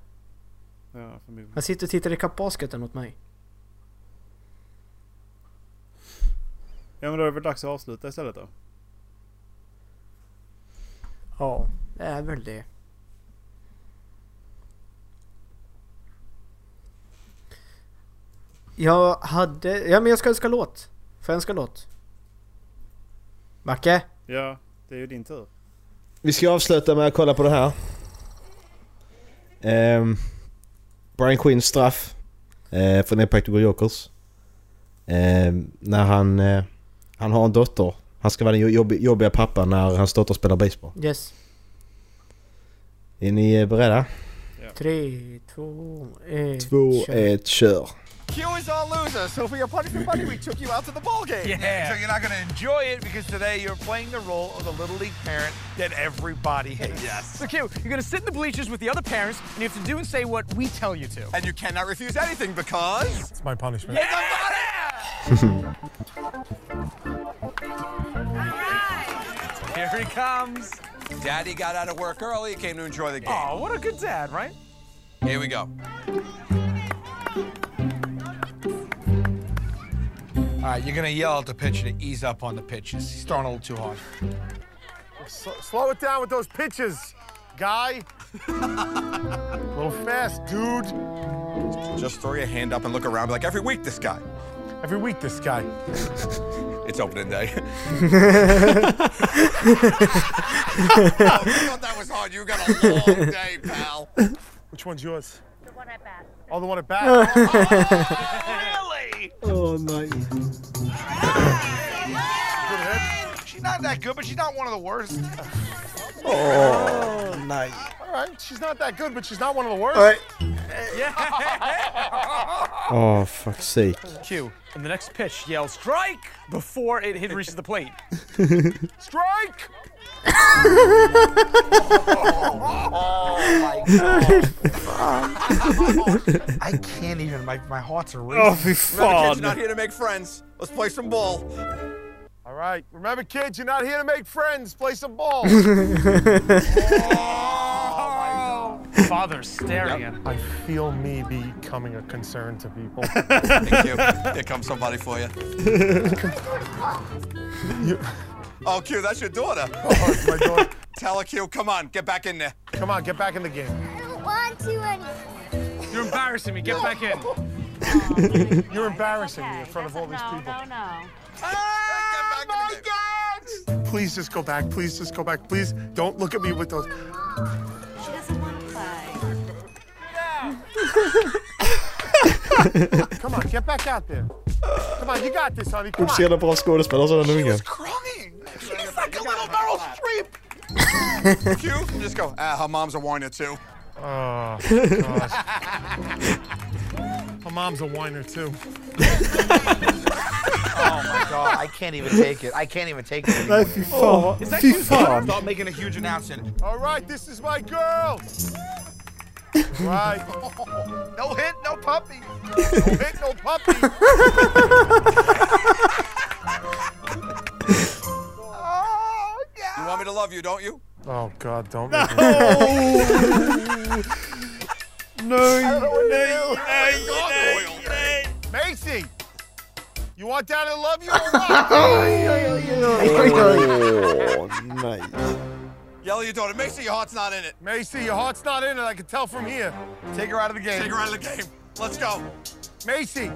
Ja, förmodligen.
Han sitter och tittar i kappbasketen åt mig.
Ja men då är det väl dags att avsluta istället då.
Ja, det är väl det. Jag hade... Ja men jag ska önska låt. Får jag önska låt? Macke?
Ja, det är ju din tur.
Vi ska avsluta med att kolla på det här. Ehm, Brian Quinns straff eh, från Impractical Jokers. Ehm, när han... Eh, han har en dotter. Han ska vara den jobb, jobbiga pappan när hans dotter spelar baseball.
Yes.
Är ni eh, beredda?
Tre, två, ett,
Två,
kör.
ett, kör.
Q is all losers, so for your punishment money, we took you out to the ball game. Yeah. So you're not going to enjoy it because today you're playing the role of the little league parent that everybody hates. Yes.
So, Q, you're gonna sit in the bleachers with the other parents, and you have to do and say what we tell you to.
And you cannot refuse anything because it's my punishment. It's a money!
Here he comes.
Daddy got out of work early, he came to enjoy the game.
Oh, what a good dad, right?
Here we go. All right, you're gonna yell at the pitcher to ease up on the pitches. He's throwing a little too hard.
Slow it down with those pitches, guy. A little fast, dude.
Just throw your hand up and look around like every week this guy.
Every week, this guy.
It's opening day. oh, I thought that was hard. You got a long day, pal.
Which one's yours?
One at bat.
Oh, the one at bat.
She's not that good, but she's not one of the worst.
Nej.
All
right. She's not that good, but she's not one of the worst.
Nej. Åh, fuck sake.
Q. And the next pitch yells strike before it hit, reaches the plate.
Strike!
Oh, I can't even. My, my
Oh,
hearts are racing.
Åh fy
Remember, kids,
fan!
you're not here to make friends. Let's play some ball.
All right. Remember, kids, you're not here to make friends. Play some ball.
Father's staring at
I feel me becoming a concern to people.
Thank you. Here comes somebody for you. Oh, Q, that's your daughter.
Oh, it's my daughter.
Tell her, Q, come on, get back in there.
Come on, get back in the game.
I don't want to anymore.
You're embarrassing me. Get back in.
Oh,
You're embarrassing me in front of all these people.
no.
Get back in the game.
Please just go back. Please just go back. Please don't look at me with those.
She doesn't want to play.
Come on, get back out there. Come on, you got this, honey. Come
Så
on.
jävla bra skådespelare så den ungen.
crying. She's like a little Meryl Streep. Q, just go. Ah, her mom's a whiner too.
My mom's a whiner too.
my god, I can't even take it. I can't even take it.
Nej fy fan! Fy fan!
Start making a huge announcement.
All right, this is my girl. Right.
No hit, no puppy.
No hit, no puppy.
Oh
You
yeah.
want me to love you, don't you?
Oh God, don't. Make me.
Nej! Nej!
Gargoyle.
Macy, you want Dad to love you or what?
Åh, nej.
Yell at your daughter. Make sure your heart's not in it.
Macy, your heart's not in it. I can tell from here.
Take her out of the game.
Take her out of the game. Let's go.
Macy,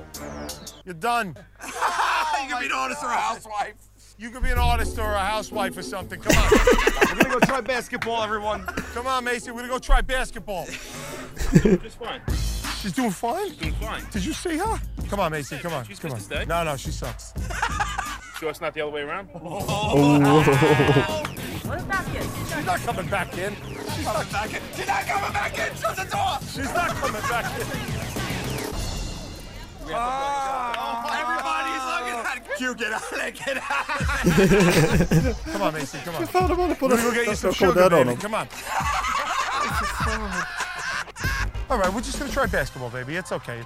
you're done.
you can be an artist or a housewife.
You could be an artist or a housewife or something. Come on.
We're gonna go try basketball, everyone.
Come on, Macy. We're going to go try basketball.
Just fine.
She's doing fine?
Doing fine.
Did you see her? Come on, Macy. Come on.
She's
come on.
supposed to stay.
No, no, she sucks.
Sure, it's not the other way around.
She's not coming back in.
She's not back in. She's not coming back in. Shut the door.
She's not coming back in.
Ah. Oh. Everybody's looking at Q. Get out of there. Get out.
Come on, Macy. Come on.
Fan de håller på
We're gonna go get you some
att komma
sugar,
döda
baby.
honom.
Come on. All right, we're just gonna try basketball, baby. It's okay.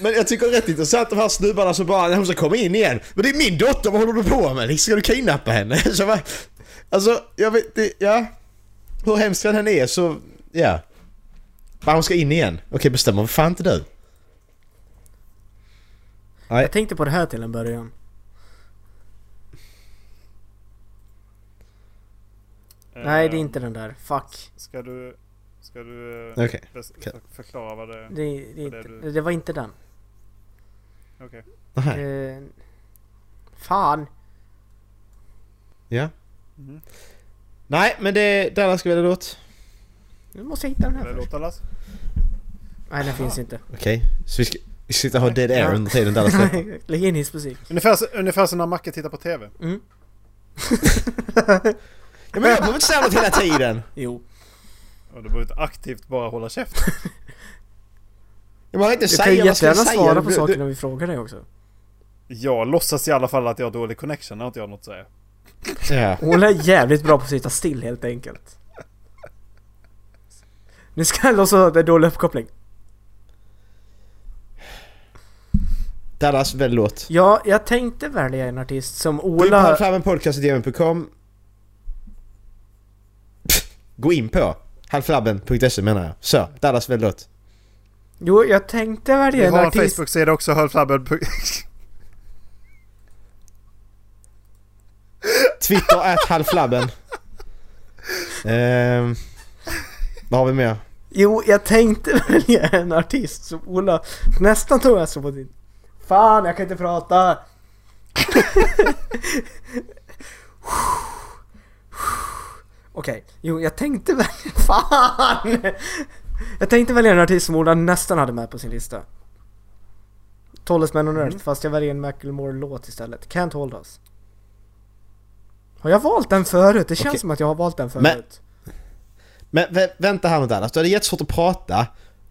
Men jag tycker det är rätt intressant de här snubbarna som bara, hon ska komma in igen. Men det är min dotter, vad håller du på med? Liksom, Ska du kidnappa henne? Så va? Alltså, jag vet det, ja. Hur hemskt den än är så, ja. Bara hon ska in igen. Okej, bestämmer för fan inte du.
Jag tänkte på det här till en början. Nej, det är inte den där. Fuck.
Eh, Ska du... Ska du... eh,
Okej.
bes-
Okej.
Förklara vad det är?
Det, det, är
Det är
inte,
du.
det var inte den.
Okej.
Nej.
Eh, fan.
Ja.
Mm-hmm.
Nej, men det, Dallas ska välja låt.
Nu måste jag hitta den här
Är det
först.
låt Dallas?
Nej, den finns inte.
Okej, så vi ska, vi ska inte ha dead air under tiden Dallas ska...
Lägg in hissmusik.
Ungefär, så- ungefär som när Macke tittar på TV.
Mm. Ja, men jag behöver inte säga något hela tiden!
Jo.
Och du behöver inte aktivt bara hålla käften.
Jag behöver inte
Du kan ju
säga vad ska jag
jättegärna
säga.
svara på
Du-
saker
du-
när vi frågar dig också.
Jag låtsas i alla fall att jag har dålig connection när inte jag har något att säga.
Ja.
Hon är jävligt bra på att sitta still helt enkelt. Nu ska jag låtsas att det är dålig uppkoppling.
Dallas, välj låt.
Ja, jag tänkte välja en artist som
Gå in på
Ola...
halvflabbenpodcast.gmn.com Gå in på halvflabben.se E, menar jag. Så, Dallas välj låt.
Jo, jag tänkte
Vi
välja en
har en
artist...
Facebook-sida också, höllflabben.
Twitter at halvflabben. Ehm, vad har vi mer?
Jo, jag tänkte välja en artist som Ola nästan tog jag så på din... Fan, jag kan inte prata! Okej, jo jag tänkte välja... Fan! Jag tänkte välja en artist som Ola nästan hade med på sin lista. Talisman on Earth, fast jag väljer en Macklemore-låt istället. Can't Hold Us. Har jag valt den förut? Det känns
Okej.
som att jag har valt den förut.
Men- Men vä- vänta här nu Dallas, du hade jättesvårt att prata.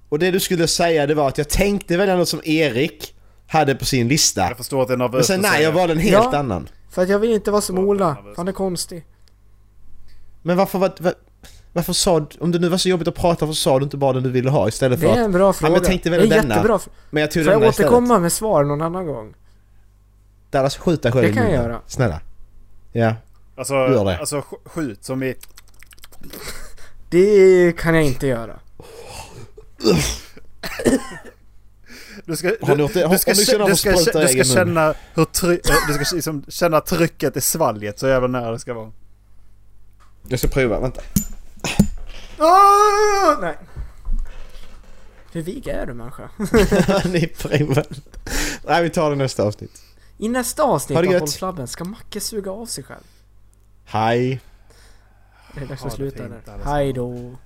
Och det du skulle säga det var att jag tänkte välja något som Erik hade på sin lista. Jag
förstår att det är nervöst
Men sen
att
nej,
säga.
jag valde en helt
Ja.
annan.
För att jag vill inte vara som Ola. Han är konstig.
Men varför var... var varför sa du, om det nu var så jobbigt att prata, varför sa du inte bara den du ville ha istället för
Det är en bra
att... Ja,
fråga.
men jag tänkte
det
välja
är en
denna.
jättebra fråga.
Men jag tog
Får jag
denna istället.
återkomma med svar någon annan gång?
Dallas, skjut dig själv
Det
i
kan jag
munnen.
göra.
Snälla. Ja.
Alltså,
Gör det.
alltså sk- skjut som i...
Det kan jag inte göra.
Du ska,
Har ni gjort det? Har-
du ska,
har ni känna
kä- du
vad
ska,
spruta
kä-
i
du ska
egen mun?
känna hur try, eh, Du ska liksom känna trycket i svalget så jävla nära det ska vara.
Jag ska prova, vänta.
Ah, nej. Hur vig är du människa?
Ni provar. Nej, vi tar det nästa avsnitt.
I nästa avsnitt
Ha det
av
gött.
Bollflabben ska Macke suga av sig själv.
Hej.
Det är dags
Ha
att
det
sluta
fint
där.
allesammans.
Hej då.